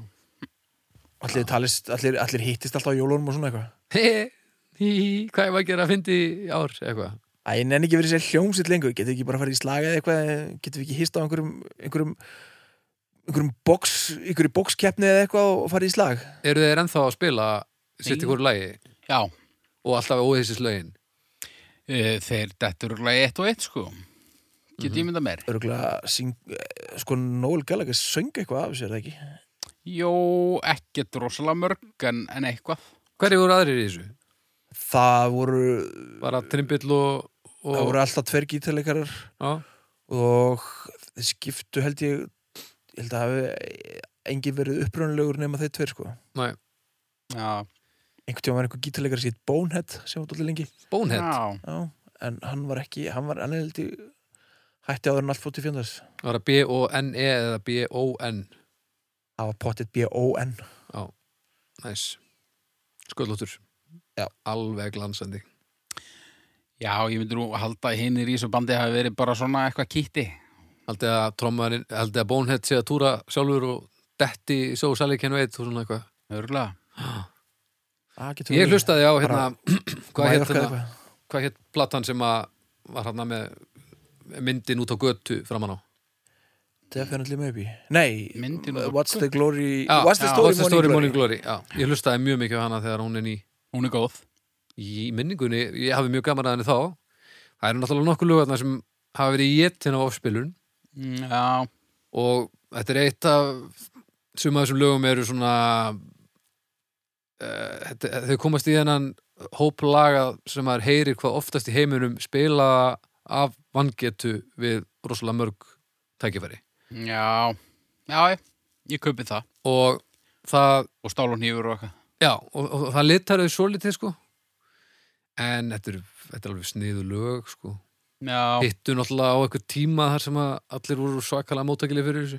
[SPEAKER 2] Allir, talist, allir, allir hittist alltaf á jólunum og svona eitthvað.
[SPEAKER 1] Hí, hí, hí, hvað ég var að gera að fyndi í ár eitthvað,
[SPEAKER 2] Æ, ég nenni ekki verið sér hljómsitt lengur, getur við ekki bara farið í slaga eða eitthvað, getur við ekki hist á einhverjum, einhverjum, einhverjum box, einhverjum boxkeppni eða eitthvað og farið í slag?
[SPEAKER 1] eru þeir ennþá að spila sitt
[SPEAKER 3] Nei.
[SPEAKER 1] í hverju lagi
[SPEAKER 3] Já,
[SPEAKER 1] og alltaf óheisis lögin
[SPEAKER 3] eh, þeir þetta eru glæði eitt og eitt sko. Get ég mynda meir?
[SPEAKER 2] Örgulega, syng, eh, sko, Noel Gallagher söng eitthvað af sér, er það ekki?
[SPEAKER 3] Jó, ekkert rosalega mörg en, en eitthvað.
[SPEAKER 1] hverju voru aðrir í þessu?
[SPEAKER 2] Það voru,
[SPEAKER 1] bara trimbill og, og
[SPEAKER 2] það voru alltaf tver gítarleikarar
[SPEAKER 1] já,
[SPEAKER 2] og þeir skiptu held ég, ég held að hafi engin verið upprunalugur nema þeir tver, sko.
[SPEAKER 1] næ,
[SPEAKER 3] Já,
[SPEAKER 2] Einhvern tíma var einhver gítarleikar sér Bonehead sem var allir lengi,
[SPEAKER 1] Bonehead
[SPEAKER 3] já.
[SPEAKER 2] já, en hann var ekki, hann var, hann held ég, hætti áður en allt fótt í fjöndars.
[SPEAKER 1] það var að B-O-N-E E eða B-O-N
[SPEAKER 2] Það var pottet B-O-N
[SPEAKER 1] næs, sköldlóttur
[SPEAKER 2] Já.
[SPEAKER 1] alveg glansandi
[SPEAKER 3] Já, ég myndi nú halda að hinnir í þessu bandi hafi verið bara svona eitthvað kýtti.
[SPEAKER 1] haldið að trommarinn, haldið að Bonehead sé að túra sjálfur og detti í svo sali kennu eitt og svona eitthvað
[SPEAKER 3] Örgulega.
[SPEAKER 1] ég hlustaði á hérna
[SPEAKER 2] Bara-
[SPEAKER 1] hvað hétt hérna, hvað hétt platan sem að var hérna með myndin út á götu framan á
[SPEAKER 2] Definitely maybe Nei,
[SPEAKER 3] Myndin og-
[SPEAKER 2] What's the glory
[SPEAKER 1] Já,
[SPEAKER 2] What's the
[SPEAKER 1] Ah, já,
[SPEAKER 2] story,
[SPEAKER 1] What's the Story
[SPEAKER 2] Morning
[SPEAKER 1] Morning Glory já, ég hlustaði mjög mikið á hana þegar hún er ný
[SPEAKER 3] Hún er góð.
[SPEAKER 1] í minningunni, ég hafi mjög gaman að henni þá það eru náttúrulega nokkuð lögarnar sem hafa verið getinn á ofspilun
[SPEAKER 3] Mm, Já,
[SPEAKER 1] og þetta er eitt af sum af þessum lögum eru svona uh, þetta, þau komast í þennan hóp laga sem maður heyrir hvað oftast í heiminum spila af vangetu við rosalega mörg tækifæri
[SPEAKER 3] já. Já, ég, ég kaupi það.
[SPEAKER 1] og það,
[SPEAKER 3] Og stál og nýfur og eitthvað.
[SPEAKER 1] já, og, og, og það litar þau svolítið sko en þetta er, þetta er alveg sniðu lög sko
[SPEAKER 3] Já,
[SPEAKER 1] hittu náttúrulega á eitthvað tíma þar sem að allir voru svakalega móttakileg fyrir þessu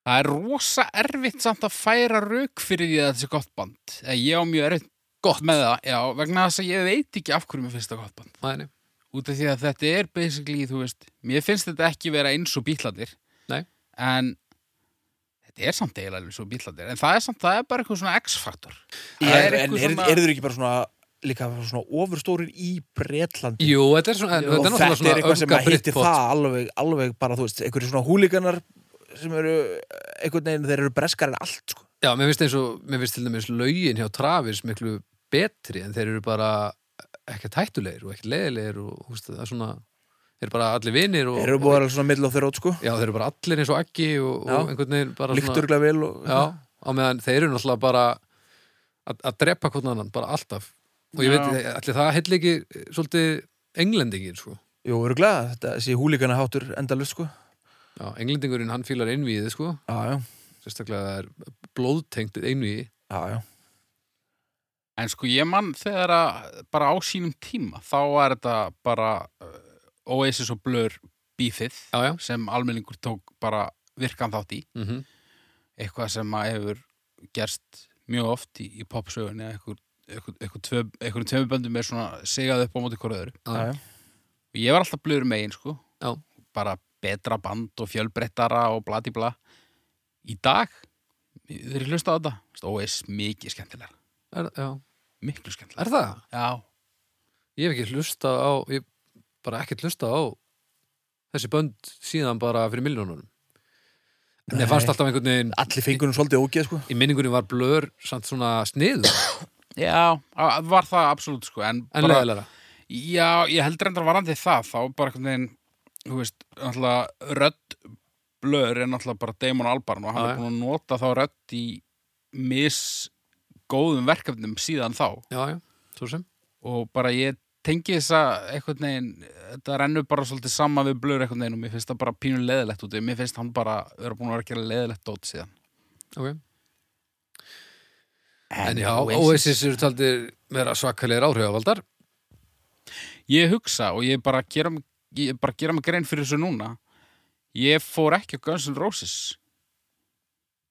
[SPEAKER 3] það er rosa erfitt samt að færa rauk fyrir því að þetta sé gott band. Eh, Ég á mjög erfitt gott með það, já, vegna þess að ég veit ekki af hverju mér finnst það gott band.
[SPEAKER 1] Mæni.
[SPEAKER 3] Út af því að þetta er basically, þú veist, mér finnst þetta ekki vera eins og bítlandir.
[SPEAKER 1] Nei.
[SPEAKER 3] En þetta er samt eiginlega eins og bítlandir. En það er samt, það er bara eitthvað svona X-faktor.
[SPEAKER 2] Já,
[SPEAKER 3] Það er
[SPEAKER 2] En
[SPEAKER 3] eitthvað
[SPEAKER 2] er-
[SPEAKER 3] svona-
[SPEAKER 2] eru þeir ekki bara svona líka svona ofurstórir í Bretlandi
[SPEAKER 1] Jú, þetta er svona, þetta
[SPEAKER 2] og
[SPEAKER 1] er náttúrulega
[SPEAKER 2] þetta er eitthvað sem
[SPEAKER 1] svona
[SPEAKER 2] að hitti
[SPEAKER 1] öfgabrittpott
[SPEAKER 2] það alveg, alveg bara, þú veist, einhverju svona húlíkanar sem eru, einhvern veginn þeir eru breskar en allt, sko
[SPEAKER 1] Já, mér finnst eins og, mér finnst til dæmis lögin hjá Travis miklu betri en þeir eru bara ekkert hættulegir og ekkert leiðilegir og húst, það er svona, þeir eru bara allir vinir og,
[SPEAKER 2] Þeir eru búið að vera svona middle of the road, sko
[SPEAKER 1] Já, þeir eru bara allir eins og aggi og, og
[SPEAKER 2] Já.
[SPEAKER 1] einhvern veginn bara
[SPEAKER 2] Líkt örglega vel og
[SPEAKER 1] Já, á meðan þeir eru náttúrulega bara að, að drepa hvern annan, bara alltaf og ég
[SPEAKER 3] Já.
[SPEAKER 1] veit, allir það heil ekki eh, svolítið englendingin, sko
[SPEAKER 2] Jú, örglega, þetta sé húlíkana hátur endalust, sko
[SPEAKER 1] Já, englendingurinn hann fílar einvíði, sko
[SPEAKER 2] Já, já,
[SPEAKER 1] sérstaklega það er blóðtengt einvíði
[SPEAKER 2] já, já
[SPEAKER 3] En sko ég mann þegar að bara á sínum tíma þá var þetta bara uh, Oasis og Blur bífið
[SPEAKER 1] Já, já,
[SPEAKER 3] sem almenningur tók bara virkan þátt í
[SPEAKER 1] mhm
[SPEAKER 3] eitthvað sem að hefur gerst mjög oft í, í popsögunni eða eitthvað, eitthvað, eitthvað, tvö, eitthvað tveim böndum er svona sigað upp á móti hverju öðru
[SPEAKER 1] Já,
[SPEAKER 2] já, já.
[SPEAKER 3] og ég var alltaf Blur megin sko
[SPEAKER 1] Já.
[SPEAKER 3] bara betra band og fjölbrettara og blati bla í dag þeir eru hlusta á þetta veist, Oasis mikið skemmtilega
[SPEAKER 1] Er, já,
[SPEAKER 3] miklu skemmtilega
[SPEAKER 1] er það?
[SPEAKER 3] Já,
[SPEAKER 1] Ég hef ekki hlustað á, ég bara ekkert hlustað á þessi bönd síðan bara fyrir miljónunum. En ég fannst alltaf einhvern veginn,
[SPEAKER 2] Allir fingunum svolítið ógeð, sko
[SPEAKER 1] í minningunni var blör samt svona sniður
[SPEAKER 3] Já, á- var það absolutt sko En,
[SPEAKER 1] en
[SPEAKER 3] bara,
[SPEAKER 1] leðalega.
[SPEAKER 3] já, ég heldur endur varandi það Þá bara einhvern veginn, þú veist, náttúrulega Rödd blör er náttúrulega bara Damon Albarn og hann
[SPEAKER 1] Já,
[SPEAKER 3] er
[SPEAKER 1] já.
[SPEAKER 3] búin að nota þá rödd í misgóðum verkefnum síðan þá
[SPEAKER 1] já, já, svo sem
[SPEAKER 3] og bara ég tengi þessa einhvern veginn, þetta rennur bara svolítið sama við blur einhvern veginn og mér finnst það bara pínu leðilegt út, mér finnst hann bara vera búin að vera að gera leðilegt dót síðan
[SPEAKER 1] okay. En já, Oasis eru taldir vera svakalegir áhrifavaldar
[SPEAKER 3] ég hugsa og ég bara gera, mig- ég bara gera mig grein fyrir þessu núna ég fór ekki á Guns N' Roses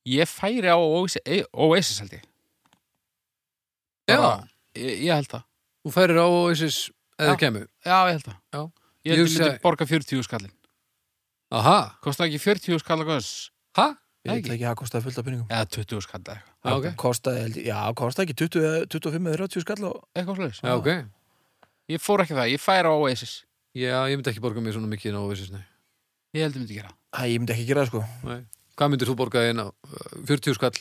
[SPEAKER 3] ég færi á Oasis, eh, Oasis held ég Bara- ég, ég held það
[SPEAKER 1] Þú færir á Oasis eða
[SPEAKER 3] Já.
[SPEAKER 1] kemur
[SPEAKER 3] já, ég held það
[SPEAKER 1] Já.
[SPEAKER 3] ég held
[SPEAKER 1] Ég
[SPEAKER 3] ég,
[SPEAKER 1] hugsa-
[SPEAKER 3] myndi borga 40 skallin
[SPEAKER 1] Aha,
[SPEAKER 3] kostaði ekki 40 skall að Guns
[SPEAKER 1] ha?
[SPEAKER 2] Ég veit ekki, það kostaði fullt af peningum
[SPEAKER 3] eða 20 skall eða eitthvað,
[SPEAKER 1] Já, ok,
[SPEAKER 2] Kostaði, held ég- já, kostaði ekki 20, eða 25 eða 30 skall og
[SPEAKER 3] eitthvað slags
[SPEAKER 1] já, ok
[SPEAKER 3] ég fór ekki það, ég færi á Oasis
[SPEAKER 1] Já, ég myndi ekki borga mér svona mikið inn á Oasis, nei
[SPEAKER 3] ég held ég myndi gera það.
[SPEAKER 2] Æ, ég myndi ekki gera það sko
[SPEAKER 1] Nei. Hvað myndir þú borgaði inn á uh, 40 skall?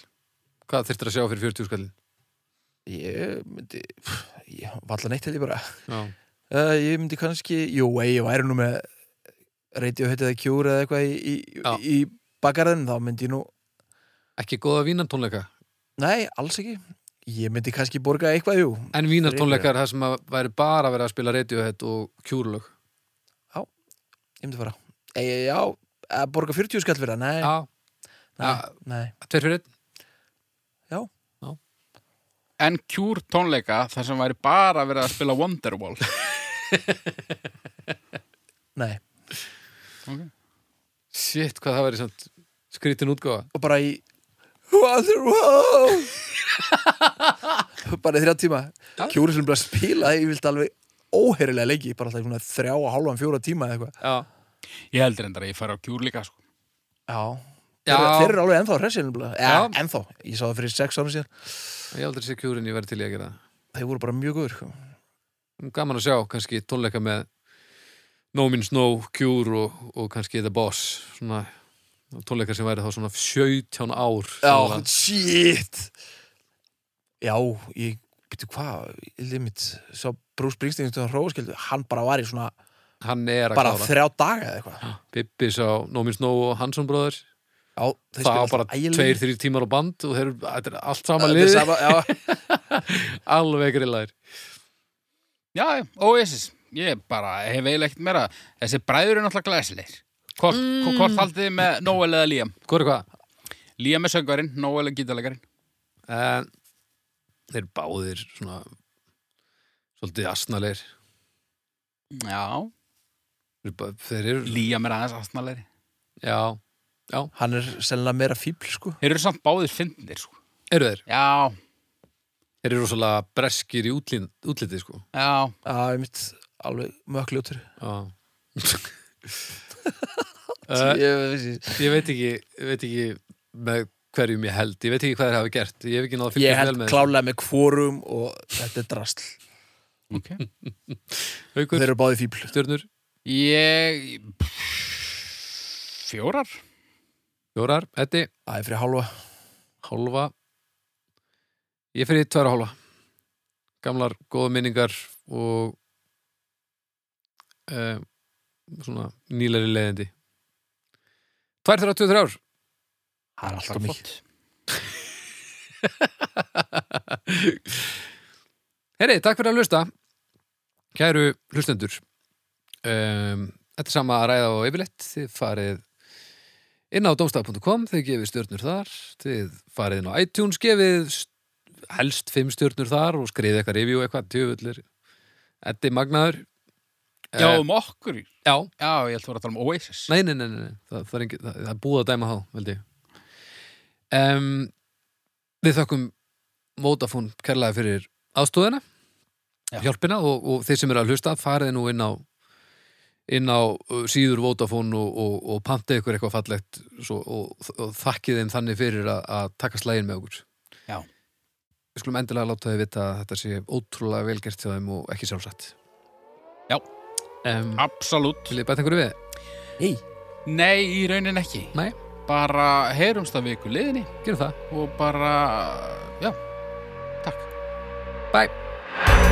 [SPEAKER 1] Hvað þyrftir að sjá fyrir 40 skallin?
[SPEAKER 2] Ég myndi, ég valla neitt held ég bara
[SPEAKER 1] Já,
[SPEAKER 2] uh, Ég myndi kannski, jú, ei, ég væri nú með Radiohead eða Cure eða eitthvað í,
[SPEAKER 1] Já.
[SPEAKER 2] í, í bakarðin Þá myndi ég nú,
[SPEAKER 1] ekki góða vínartónleika
[SPEAKER 2] nei, alls ekki Ég myndi kannski borga eitthvað, jú
[SPEAKER 1] En vínartónleika er það sem að væri bara að vera að spila Radiohead og kjúrlög
[SPEAKER 2] Ég myndi fara Ei, Já, að borga 40 skall fyrir það, nei,
[SPEAKER 1] Já,
[SPEAKER 2] nei, nei.
[SPEAKER 1] tveir fyrir einn
[SPEAKER 3] en Cure tónleika þar sem væri bara verið að spila Wonderwall
[SPEAKER 2] Nei,
[SPEAKER 3] okay.
[SPEAKER 1] Shit, hvað það væri samt skrítin útgáfa
[SPEAKER 2] og bara í Wonderwall bara í þrjá tíma Kjúri sem bara að spila ég vilt alveg óheyrilega lengi bara alltaf í svona þrjá og hálfan fjóra tíma eða eitthvað
[SPEAKER 1] Já,
[SPEAKER 3] ég held reyndar að ég færi á Cure líka sko.
[SPEAKER 2] Já,
[SPEAKER 1] Já.
[SPEAKER 2] Þeir, þeir eru alveg ennþá hressir nefnilega.
[SPEAKER 1] Já.
[SPEAKER 2] ja, ennþá, ég sá það fyrir sex ára síðan
[SPEAKER 1] ég aldrei sé kjúrin ég væri til í að gera það
[SPEAKER 2] þeir voru bara mjög góður sko.
[SPEAKER 1] gaman að sjá kannski tónleika með No Means No, Cure og, og kannski The Boss svona tónleika sem væri þá svona 17 ár
[SPEAKER 2] Já,
[SPEAKER 1] sennilega.
[SPEAKER 2] shit Já, ég byrju hvað, ég limit sá Bruce Springsteen til hann hróskildu hann bara var í svona,
[SPEAKER 1] hann er að
[SPEAKER 2] bara
[SPEAKER 1] klára
[SPEAKER 2] þrjá daga eða eitthvað
[SPEAKER 1] Bibbi sá No Means No og Hansson Brothers
[SPEAKER 2] Já,
[SPEAKER 1] það
[SPEAKER 2] þeir spila
[SPEAKER 1] var bara
[SPEAKER 2] alltaf ægilega.
[SPEAKER 1] 2-3 tímar á band og þeir eru þetta er allt
[SPEAKER 2] Þetta
[SPEAKER 1] sama
[SPEAKER 2] er
[SPEAKER 1] liði
[SPEAKER 2] sama- Já,
[SPEAKER 1] alveg grillaðir
[SPEAKER 3] já, já, Oasis ég bara hef eiginlega ekkert meira þessi bræður er náttúrulega glæsilegir hvort, mm. hvort haldið þið með Noel eða Liam
[SPEAKER 1] hvað er hvað?
[SPEAKER 3] Liam er söngarinn, Noel er gítarleikarinn
[SPEAKER 1] En, Eh, þeir báðir svona svolítið asnalegir
[SPEAKER 3] já,
[SPEAKER 1] Þeir bara- þeir eru,
[SPEAKER 3] Liam er aðeins aðsnalegri
[SPEAKER 1] já,
[SPEAKER 2] hann er sennilega meira fíbl sko
[SPEAKER 3] þeir eru samt báðir fyndnir sko.
[SPEAKER 1] eru þeir
[SPEAKER 3] já,
[SPEAKER 1] þeir eru rosalega breskir í útlin, útlitið sko
[SPEAKER 3] já,
[SPEAKER 2] Já, ég mitt alveg mökkljótur
[SPEAKER 1] Já
[SPEAKER 2] uh,
[SPEAKER 1] uh, Ég veit ekki ég veit ekki með hverjum ég held ég veit ekki hvað þeir hafa gert ég hef ekki náð að
[SPEAKER 2] Ég
[SPEAKER 1] fylgja vel
[SPEAKER 2] held
[SPEAKER 1] með
[SPEAKER 2] klálega með kvorum og þetta er drasl
[SPEAKER 3] ok
[SPEAKER 1] þessu. Haukur,
[SPEAKER 2] Þeir eru báði fíbl
[SPEAKER 1] stjörnur,
[SPEAKER 3] ég fjórar
[SPEAKER 1] fjórar, etti,
[SPEAKER 2] Það er fyrir hálfa
[SPEAKER 1] hálfa ég fyrir tværa hálfa gamlar, góða minningar og uh, svona nýlari leiðindi Tvær þeirra 23 ár
[SPEAKER 2] Það er alltaf mikið
[SPEAKER 1] Herri, takk fyrir að hlusta Kæru hlustendur um, Þetta er sama að ræða á yfirleitt Þið farið inn á domstaf.com Þið gefið stjörnur þar Þið farið inn á iTunes Gefið st- helst fimm stjörnur þar og skriðið eitthvað review eitthvað tjöfullir Eddi Magnaður
[SPEAKER 3] já,
[SPEAKER 1] Eh,
[SPEAKER 3] um okkur já,
[SPEAKER 1] já.
[SPEAKER 3] ég held að vera að tala um Oasis
[SPEAKER 1] Nei, nei, nei, nei, nei. Það, það, er engin, það, það er búið að dæma þá, held ég um, Við þökkum Vodafone kærlega fyrir aðstóðina
[SPEAKER 3] Já.
[SPEAKER 1] hjálpina og, og þeir sem eru að hlusta farið nú inn á inn á uh, síður Vodafone og, og, og pantið ykkur eitthvað fallegt svo, og, og þakkið þeim þannig fyrir að, að taka slægin með okkur
[SPEAKER 3] Já.
[SPEAKER 1] Við skulum endilega láta þau vita að þetta sé ótrúlega velgert hjá þeim og ekki sjálfsagt
[SPEAKER 3] Já.
[SPEAKER 1] um,
[SPEAKER 3] absolutt
[SPEAKER 1] Viljið bæta einhverju við?
[SPEAKER 2] Hei
[SPEAKER 3] Nei, í raunin ekki
[SPEAKER 1] Nei.
[SPEAKER 3] Bara heyrumst að viku liðinni
[SPEAKER 1] Gerum það
[SPEAKER 3] og bara, já, takk
[SPEAKER 1] Bye.